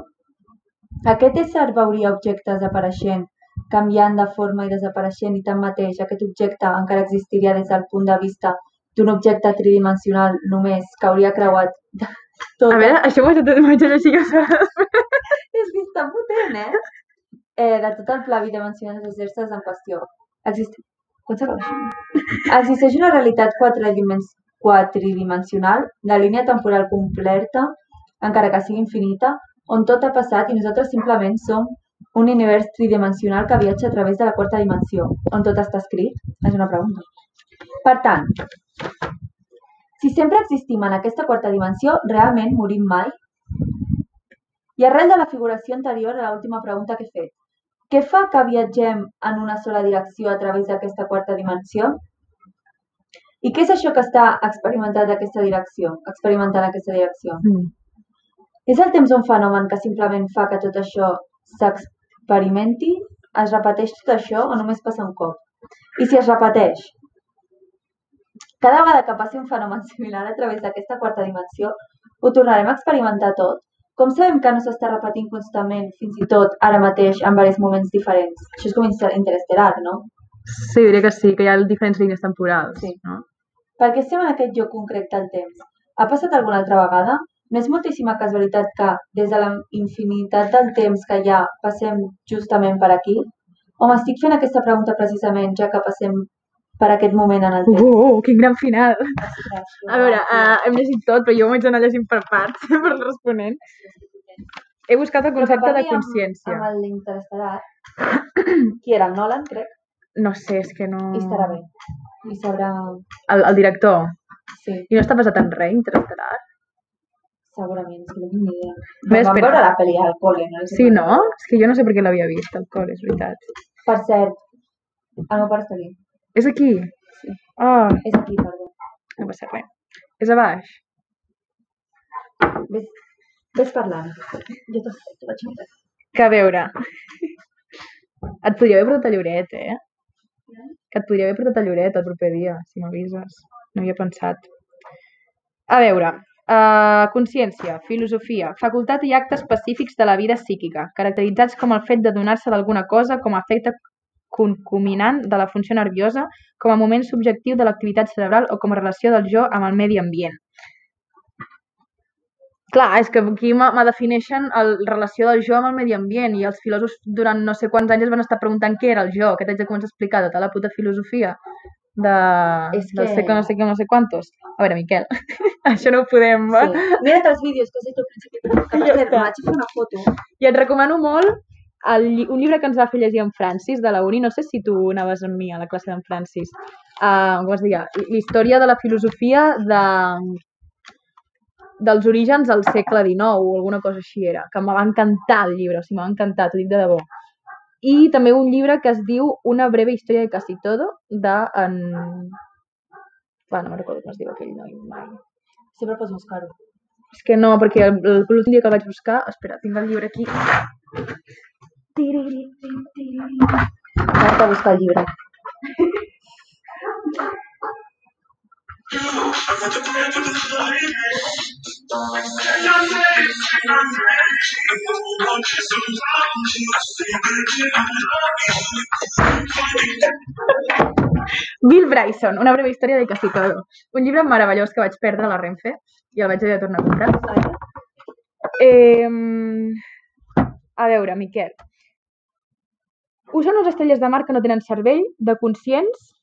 Aquest ésser veuria objectes apareixent, canviant de forma i desapareixent i tanmateix aquest objecte encara existiria des del punt de vista d'un objecte tridimensional només que hauria creuat tot. A veure, això ho vaig a- ho vaig a llegir que serà- És que està potent, eh? eh de tot el pla bidimensional dels éssers en qüestió. Existe... Pots acabar? Existeix una realitat quatridimens- quatridimensional, la línia temporal completa, encara que sigui infinita, on tot ha passat i nosaltres simplement som un univers tridimensional que viatja a través de la quarta dimensió, on tot està escrit? És una pregunta. Per tant, si sempre existim en aquesta quarta dimensió, realment morim mai? I arrel de la figuració anterior a l'última pregunta que he fet, què fa que viatgem en una sola direcció a través d'aquesta quarta dimensió? I què és això que està experimentat d'aquesta direcció, experimentant aquesta direcció? Mm. És el temps un fenomen que simplement fa que tot això s'experimenti? Es repeteix tot això o només passa un cop? I si es repeteix? Cada vegada que passi un fenomen similar a través d'aquesta quarta dimensió, ho tornarem a experimentar tot? Com sabem que no s'està repetint constantment, fins i tot ara mateix, en diversos moments diferents? Això és com Inter- Interestelar, no? Sí, diria que sí, que hi ha diferents línies temporals. Sí. No? Per què estem en aquest lloc concret del temps? Ha passat alguna altra vegada? No és moltíssima casualitat que, des de la infinitat del temps que hi ha, passem justament per aquí? O m'estic fent aquesta pregunta precisament, ja que passem per aquest moment en el Uh, temps? uh, uh, quin gran final! Uh, A veure, uh, hem llegit tot, però jo m'ho vaig anar llegint per parts, per responent. He buscat el concepte de consciència. Amb, amb l'interestelar, qui era? El Nolan, crec, No sé, és que no... i estarà bé. I sabrà... El, el director. Sí, I no està basat en res, interestarà. segurament, és que no tinc ni idea. Bé, Vam espera. veure la pel·li al col·le, no? Sí, no? És que jo no sé per què l'havia vist, el cor, és veritat. Per cert, el meu pare està aquí. És aquí? Oh, És aquí, perdó. no passa res. És a baix. Ves, ves parlant. Jo t'escolto, vaig mirar. Que a veure... Et podria haver portat a Lloret, eh? Que et podria haver portat a Lloret el proper dia, si m'avises. No hi he pensat. A veure, uh, consciència, filosofia, facultat i actes específics de la vida psíquica, caracteritzats com el fet de donar-se d'alguna cosa com a efecte concominant de la funció nerviosa, com a moment subjectiu de l'activitat cerebral o com a relació del jo amb el medi ambient. Clar, és que aquí me, me defineixen el relació del jo amb el medi ambient i els filòsofs durant no sé quants anys es van estar preguntant què era el jo, que t'haig de començar a explicar tota la puta filosofia de, És del que- segle no sé què, no sé quantos. A veure, Miquel, això no ho podem... eh? Sí. Sí. Mira't els vídeos que has dit al principi, però que per Ja cert, està. vaig fer una foto. I et recomano molt el, lli- un llibre que ens va fer llegir en Francis de la uni. No sé si tu anaves amb mi a la classe d'en Francis. Uh, com es deia? L'història de la filosofia de, dels orígens al segle XIX o alguna cosa així era, que me va encantar el llibre, o sigui, me va encantar, t'ho dic de debò. I també un llibre que es diu Una breve història de casi todo, de... En... Bueno, no me'n recordo com es diu aquell noi mai. Sempre pots buscar-ho. És que no, perquè el- el- l'últim dia que el vaig buscar... Espera, tinc el llibre aquí. Vaig a buscar el llibre. Bill Bryson, Una breve història de casi todo. Un llibre meravellós que vaig perdre a la Renfe i el vaig haver de tornar a comprar. Eh, a veure, Miquel. Ho són les estrelles de mar que no tenen cervell, de conscients?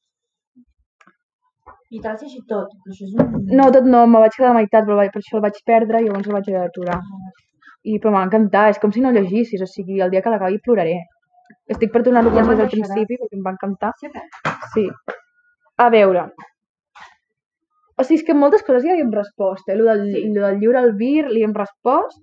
I te l'has llegit tot, però això és pues un... No, tot no, me vaig quedar a la meitat, però el vaig- per això el vaig perdre i llavors el vaig haver d'aturar. I, però m'ha encantat, és com si no el llegissis, o sigui, el dia que l'acabi ploraré. Estic per tornar-lo a Ja me'l començar des del deixaràs. principi perquè em va encantar. Sí, que- Sí. A veure. O sigui, és que moltes coses ja li hem respost, eh? Lo del, sí. lo del lliure al vir li hem respost.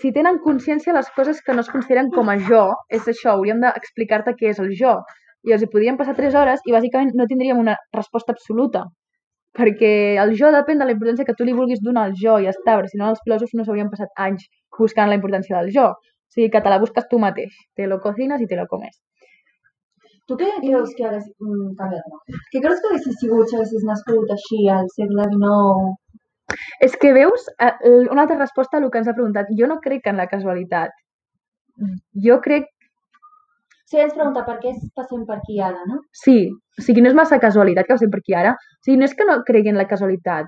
Si tenen consciència les coses que no es consideren com a jo, és això, hauríem d'explicar-te què és el jo. I els hi podríem passar tres hores i bàsicament no tindríem una resposta absoluta. Perquè el jo depèn de la importància que tu li vulguis donar al jo i ja està, perquè si no els filòsofs no s'haurien passat anys buscant la importància del jo. O sigui, que te la busques tu mateix. Te lo cocines i te lo comes. Tu què creus que hagués... Mm, canviat, no. Què creus que haguessis sigut si haguessis nascut així al segle XIX És que veus eh, l- una altra resposta a el que ens ha preguntat. Jo no crec en la casualitat. Jo crec... Si ens pregunta per què es passem per aquí ara, no? Sí, o sigui, no és massa casualitat que ho sé per aquí ara. O sigui, no és que no cregui en la casualitat.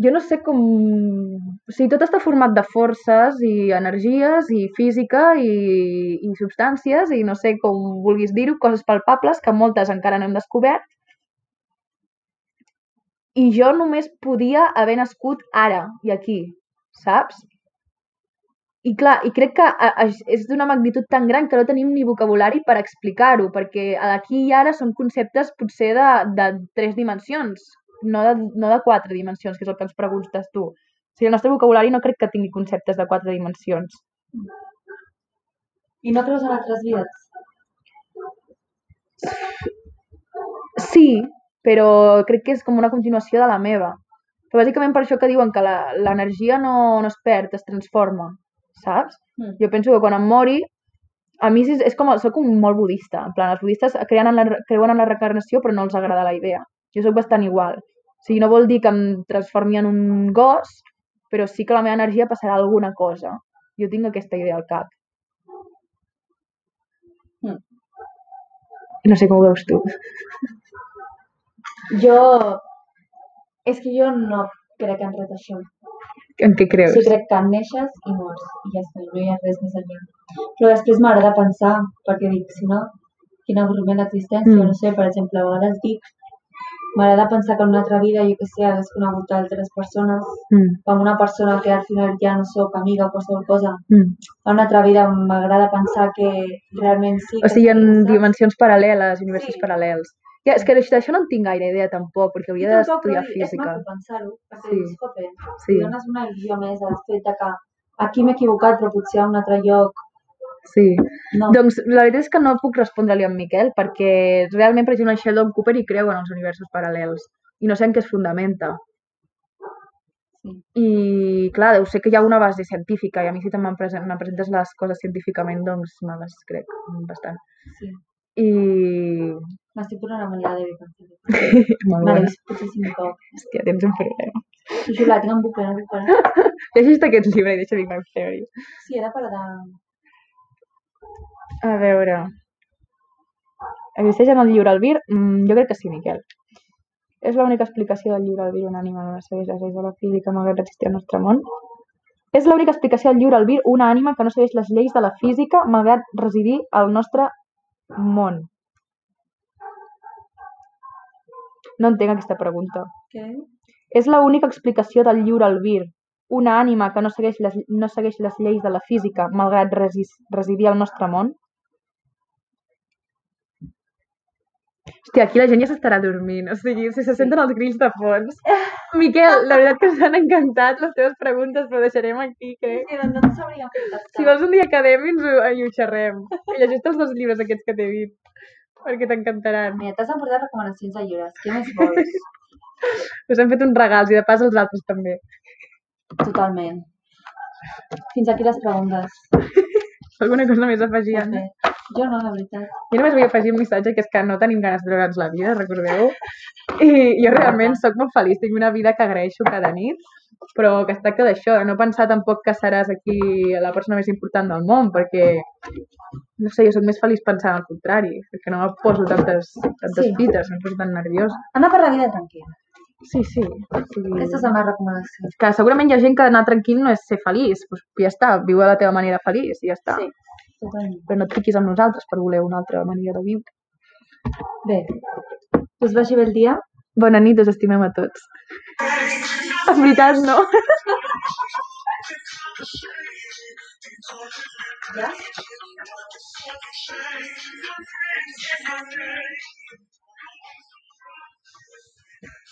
Jo no sé com... O sigui, tot està format de forces i energies i física i, i substàncies i no sé com vulguis dir-ho, coses palpables que moltes encara no hem descobert. I jo només podia haver nascut ara i aquí, saps? I clar, i crec que a- a- és d'una magnitud tan gran que no tenim ni vocabulari per explicar-ho, perquè aquí i ara són conceptes potser de, de tres dimensions, no de, no de quatre dimensions, que és el que ens preguntes tu. O sigui, el nostre vocabulari no crec que tingui conceptes de quatre dimensions. I no creus en altres vides. Sí, però crec que és com una continuació de la meva. Però bàsicament per això que diuen que la- l'energia no, no es perd, es transforma, saps? Mm. Jo penso que quan em mori, a mi és, és com, soc un molt budista, en plan, els budistes creuen en, la, re- creuen en la reencarnació però no els agrada la idea. Jo sóc bastant igual. O sigui, no vol dir que em transformi en un gos, però sí que la meva energia passarà a alguna cosa. Jo tinc aquesta idea al cap. Mm. No sé com ho veus tu. Jo... És que jo no crec en res d'això. En què creus? Sí, crec que neixes i mors. I ja està, no hi ha res més enllà. Però després m'agrada pensar, perquè dic, si no, quin avorriment l'existència. Mm. No sé, per exemple, a vegades dic, m'agrada pensar que en una altra vida, jo que sé, hagués conegut altres persones, Mm, o amb una persona que al final ja no sóc amiga o qualsevol cosa. mm. A una altra vida m'agrada pensar que realment sí. O que sigui, sí, en saps? dimensions paral·leles, universos Sí. paral·lels. Ja, és que d'això d'això no en tinc gaire idea tampoc, perquè Jo hauria tampoc, però d'estudiar dic, És física. maco pensar-ho, perquè Sí. sí. dius, jope, Sí. sí. dones una il·lusió més al fet de que aquí m'he equivocat, però potser a un altre lloc. Sí. No. Doncs la veritat és que no puc respondre-li a en Miquel, perquè realment, per exemple, en Sheldon Cooper hi creu en els universos paral·lels i no sé en què es fundamenta. Sí. I, clar, deu ser que hi ha una base científica i a mi si te'n presen- me'n presentes les coses científicament, doncs me les crec bastant. Sí. I... M'estic posant amb la Debbie. perquè Molt Me l'he bona. vist potser cinc cops. Hòstia, tens un problema. I jo la tinc en bucle, no puc parar. Llegeix aquest llibre i deixa Big Bang Theory. Sí, era per de... A veure... Existeix en el llibre albir? Mm, jo crec que sí, Miquel. És l'única explicació del llibre albir unànime no segueix les lleis de la física malgrat existir al nostre món? És l'única explicació del llibre albir una ànima que no segueix les lleis de la física malgrat residir al nostre món. No entenc aquesta pregunta. Què? És l'única explicació del lliure albir. Una ànima que no segueix les, no segueix les lleis de la física, malgrat resis, residir al nostre món. Hòstia, aquí la gent ja s'estarà dormint, o sigui, si se senten els grills de fons. Miquel, la veritat que ens han encantat les teves preguntes, però ho deixarem aquí, crec. Sí, no, no t'ho sabríem contestar. Si vols un dia quedem i, ens ho, i ho xerrem. I llegeix els dos llibres aquests que t'he dit, perquè t'encantaran. Mira, t'has emportat recomanacions de llibres. Què més vols? Us han fet uns regals i de pas els altres també. Totalment. Fins aquí les preguntes. Alguna cosa més a afegir, Anna? Perfecte. Jo no, la veritat. Jo només vull afegir un missatge que és que no tenim ganes de treure'ns la vida, recordeu? I jo realment sóc molt feliç, tinc una vida que agraeixo cada nit, però que es tracta d'això, de no pensar tampoc que seràs aquí la persona més important del món, perquè, no sé, jo sóc més feliç pensant al contrari, perquè no em poso tantes, tantes Sí. fites, no em poso tan nerviosa. Anar per la vida tranquil·la. Sí, sí. sí. Aquesta és la meva recomanació. Que segurament hi ha gent que anar tranquil no és ser feliç, doncs ja està, viu a la teva manera feliç i ja està. Sí. Totalment. Però no et piquis amb nosaltres per voler una altra manera de viure. Bé, que us vagi bé el dia. Bona nit, us estimem a tots. En veritat, no. Yeah.